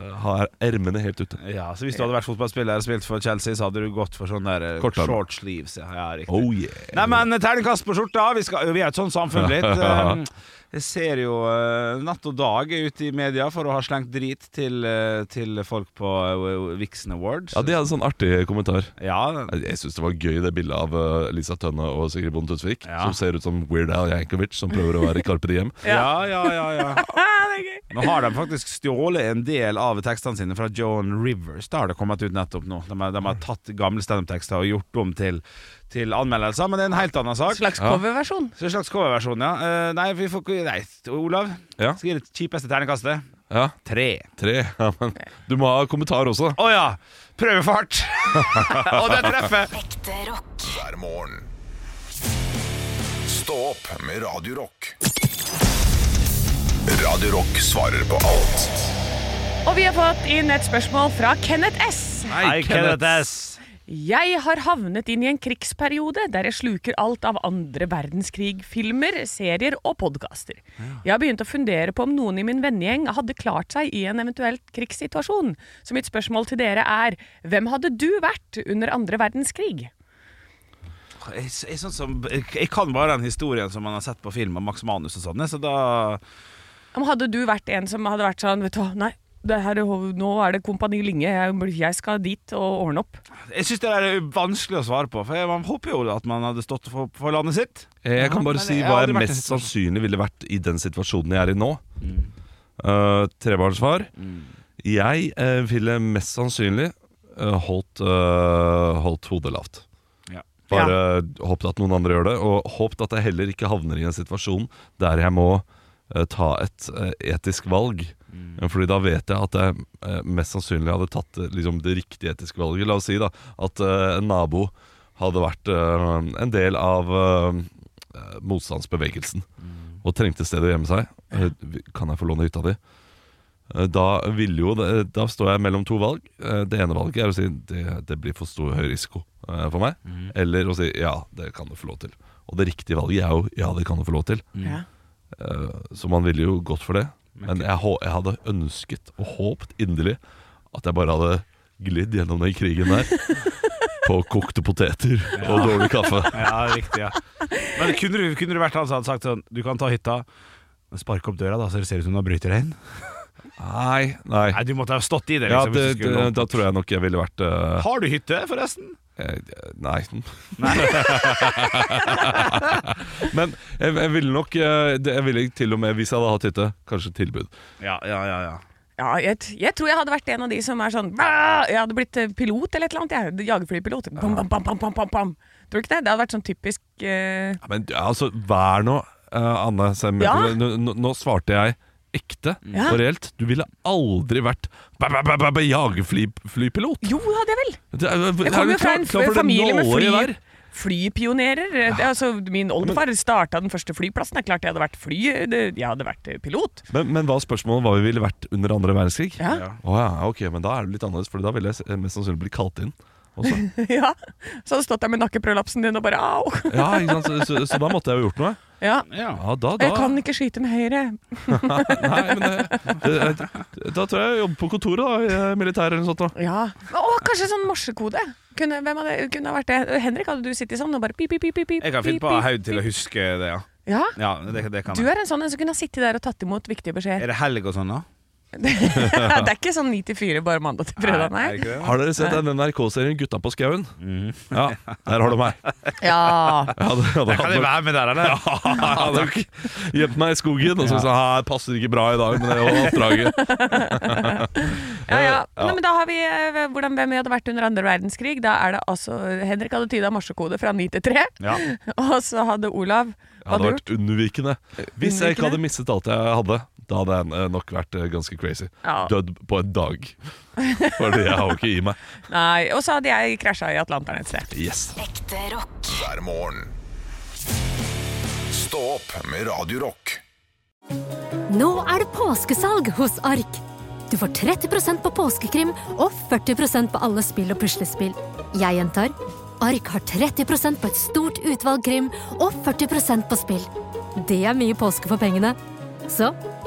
Speaker 3: eh, har ermene helt ute.
Speaker 2: Ja, så Hvis du hadde vært fotballspiller og spilt for Chelsea, så hadde du gått for sånn der eh,
Speaker 3: Kortarm.
Speaker 2: short sleeves. Ja, ja, riktig.
Speaker 3: Oh yeah.
Speaker 2: Nei, men eh, terningkast på skjorta. Vi, skal, vi er et sånt samfunn litt. Eh, Jeg ser jo eh, natt og dag ute i media for å ha slengt drit til, eh, til folk på eh, Vixen Awards.
Speaker 3: Ja, De hadde sånn artig kommentar.
Speaker 2: Ja,
Speaker 3: Jeg syns det var gøy det bildet av eh, Lisa Tønne og Sigrid Bonde Tusvik.
Speaker 2: Ja.
Speaker 3: Som ser ut som Weird Al Jankovic som prøver å være Carpe Diem.
Speaker 2: ja, ja, ja, ja.
Speaker 4: Ah, det er gøy.
Speaker 2: Nå har de faktisk stjålet en del av tekstene sine fra Joan Rivers. Det har det kommet ut nettopp nå. De, har- de har tatt gamle standup-tekster og gjort om til, til anmeldelser, men det er en helt annen sak.
Speaker 4: Slags coverversjon.
Speaker 2: Så en slags coverversjon, ja. Eh, nei, vi får ikke Nei, Olav.
Speaker 3: Ja.
Speaker 2: Skal gi det kjipeste terningkastet.
Speaker 3: Ja,
Speaker 2: Tre.
Speaker 3: tre. Ja, men du må ha kommentar også.
Speaker 2: Å ja! Prøvefart! Og det treffer!
Speaker 1: hver morgen. Stå opp med Radio Rock. Radio Rock svarer på alt
Speaker 4: Og vi har fått inn et spørsmål fra Kenneth S.
Speaker 2: Hei, Kenneth S.
Speaker 4: Jeg har havnet inn i en krigsperiode der jeg sluker alt av andre verdenskrig-filmer, serier og podkaster. Jeg har begynt å fundere på om noen i min vennegjeng hadde klart seg i en eventuell krigssituasjon. Så mitt spørsmål til dere er hvem hadde du vært under andre verdenskrig?
Speaker 2: Jeg, jeg, sånn som, jeg, jeg kan bare den historien som man har sett på film av Max Manus og sånn, så da
Speaker 4: Om Hadde du vært en som hadde vært sånn vet du hva, nei, det her, er ho- nå er det Kompani Linge, jeg- jeg skal dit og ordne opp.
Speaker 2: Jeg syns det er vanskelig å svare på, for jeg, man håper jo at man hadde stått for, for landet sitt.
Speaker 3: Eh, Jeg kan
Speaker 2: men
Speaker 3: bare si
Speaker 2: jeg
Speaker 3: hva
Speaker 2: har
Speaker 3: jeg
Speaker 2: aldri vært i
Speaker 3: mest
Speaker 2: en
Speaker 3: sannsynlig ville vært i den situasjonen jeg er i nå.
Speaker 2: Mm.
Speaker 3: Eh, trebarnsfar. Jeg eh, ville mest sannsynlig eh, holdt, eh, holdt hodet lavt.
Speaker 2: Ja.
Speaker 3: Bare håpet at noen andre gjør det, og håpet at jeg heller ikke havner i en situasjon der jeg må eh, ta et eh, etisk valg. Eh, Fordi da vet jeg at jeg eh, mest sannsynlig hadde tatt eh, liksom, det riktige etiske valget. La oss si da at eh, en nabo hadde vært eh, en del av eh, motstandsbevegelsen og trengte et sted å gjemme seg. Eh, Kan jeg få låne hytta di? Eh, Da, ville jo, det- eh, da står jeg mellom to valg. Eh, Det ene valget er å si det, det blir for stor høy risiko eh, for meg.
Speaker 2: Mhm.
Speaker 3: Eller å si ja, det kan du få lov til. Og det riktige valget er jo ja, det kan du få lov til.
Speaker 4: Ja.
Speaker 3: Eh, Så man ville jo gått for det. Men jeg, hå- jeg hadde ønsket og håpt inderlig at jeg bare hadde glidd gjennom den krigen der. På kokte poteter og dårlig kaffe.
Speaker 2: Ja, riktig, ja. Men kunne du, kunne du vært han som hadde sagt sånn Du kan ta hytta, men spark opp døra, da, så det ser ut som du har bryter deg inn?
Speaker 3: Nei, nei.
Speaker 2: Nei, du måtte ha stått i det,
Speaker 3: Ja,
Speaker 2: liksom.
Speaker 3: det,
Speaker 2: hvis du skulle
Speaker 3: det,
Speaker 2: lånt.
Speaker 3: da tror jeg nok jeg ville vært eh,
Speaker 2: Har du hytte, forresten?
Speaker 3: Eh, Nei. Men jeg, jeg ville nok eh, det- Jeg ville til og med, hvis jeg hadde hatt hytte, kanskje tilbud.
Speaker 2: Ja, ja, ja. ja.
Speaker 4: Ja, jeg, t- jeg tror jeg hadde vært en av de som er sånn "Bah!" Jeg hadde blitt eh, pilot eller et eller annet. Jeg, jagerflypilot. Bam, bam, bam, bam, bam, bam, bam. Tror du ikke det? Det hadde vært sånn typisk eh,
Speaker 3: Ja, Men ja, altså, vær nå eh, Anne Sem,
Speaker 4: Ja. Mm.
Speaker 3: nå, nå, nå svarte jeg ekte
Speaker 4: Ja.
Speaker 3: og reelt. Du ville aldri vært ba- ba- ba- ba- ba- jagerflypilot.
Speaker 4: Jo, hadde jeg vel!
Speaker 3: Det er- er
Speaker 4: Jeg kommer
Speaker 3: du
Speaker 4: jo fra
Speaker 3: klar-
Speaker 4: en
Speaker 3: klar for
Speaker 4: f-
Speaker 3: det
Speaker 4: familie med
Speaker 3: nåløyet der?
Speaker 4: fly, flypionerer. Eh, det- Altså, min oldefar starta den første flyplassen. Det er klart jeg hadde vært fly det, Jeg hadde vært eh, pilot.
Speaker 3: Men, men hva er spørsmålet hva vi ville vært under andre verdenskrig?
Speaker 4: Ja.
Speaker 3: Å ja, ok, men da er det litt annerledes, for da ville jeg s- mest sannsynlig bli kalt inn. Også.
Speaker 4: ja. Så hadde jeg stått der med nakkeprolapsen din og bare au!
Speaker 3: Ja, ikke sant? Så, så, så da måtte jeg jo gjort noe.
Speaker 4: Ja.
Speaker 2: ja.
Speaker 3: Ja, da, da.
Speaker 4: Jeg kan ikke skyte med høyre.
Speaker 3: Nei, men det, det, det, Da tror jeg jeg jobber på kontoret, da. I eh, militæret eller noe sånt. da
Speaker 4: Ja. Å, kanskje sånn morsekode. Kunne, hvem hadde, kunne ha vært det? Henrik, hadde du sittet sånn og bare pip, pip, pip, pip, pip,
Speaker 2: Jeg kan finne
Speaker 4: pip,
Speaker 2: på
Speaker 4: pip,
Speaker 2: haug til å
Speaker 4: pip.
Speaker 2: huske det, ja.
Speaker 4: Ja,
Speaker 2: ja det, det kan
Speaker 4: du
Speaker 2: jeg.
Speaker 4: er en sånn en som kunne ha sittet der og tatt imot viktige beskjeder.
Speaker 2: Er det helg og sånn, da?
Speaker 4: det er ikke sånn 9 til 4 bare mandag til
Speaker 2: er
Speaker 4: fredag,
Speaker 2: det
Speaker 4: nei.
Speaker 2: ikke det?
Speaker 3: Har dere sett den NRK-serien 'Gutta på skauen'? Ja, der har du meg.
Speaker 4: Ja.
Speaker 3: Ja, det, ja, det,
Speaker 2: Kan jeg være med der, eller?
Speaker 3: Gjemt meg i skogen og så sa jeg 'passer ikke bra i dag med det oppdraget'.
Speaker 4: ja, ja. Nei, men da har vi eh, hvordan, hvem vi hadde vært under andre verdenskrig. Da er det altså Henrik hadde tyda morsekode fra 9 til 3.
Speaker 2: Ja.
Speaker 4: Og så hadde Olav
Speaker 3: Jeg hadde
Speaker 4: hadde
Speaker 3: vært unnvikende. Hvis jeg ikke hadde mistet alt jeg hadde, da hadde jeg eh, nok vært eh, ganske crazy.
Speaker 4: Ja.
Speaker 3: Dødd på en dag. Fordi jeg har jo ikke i meg.
Speaker 4: Nei, Og så hadde jeg krasja i Atlanteren et sted.
Speaker 3: Yes.
Speaker 1: hver morgen. Stå opp med Radio Rock.
Speaker 7: Nå er det påskesalg hos Ark. Du får 30 på påskekrim og 40 på alle spill og puslespill. Jeg gjentar Ark har 30 på et stort utvalg krim og 40 på spill. Det er mye påske for pengene. Så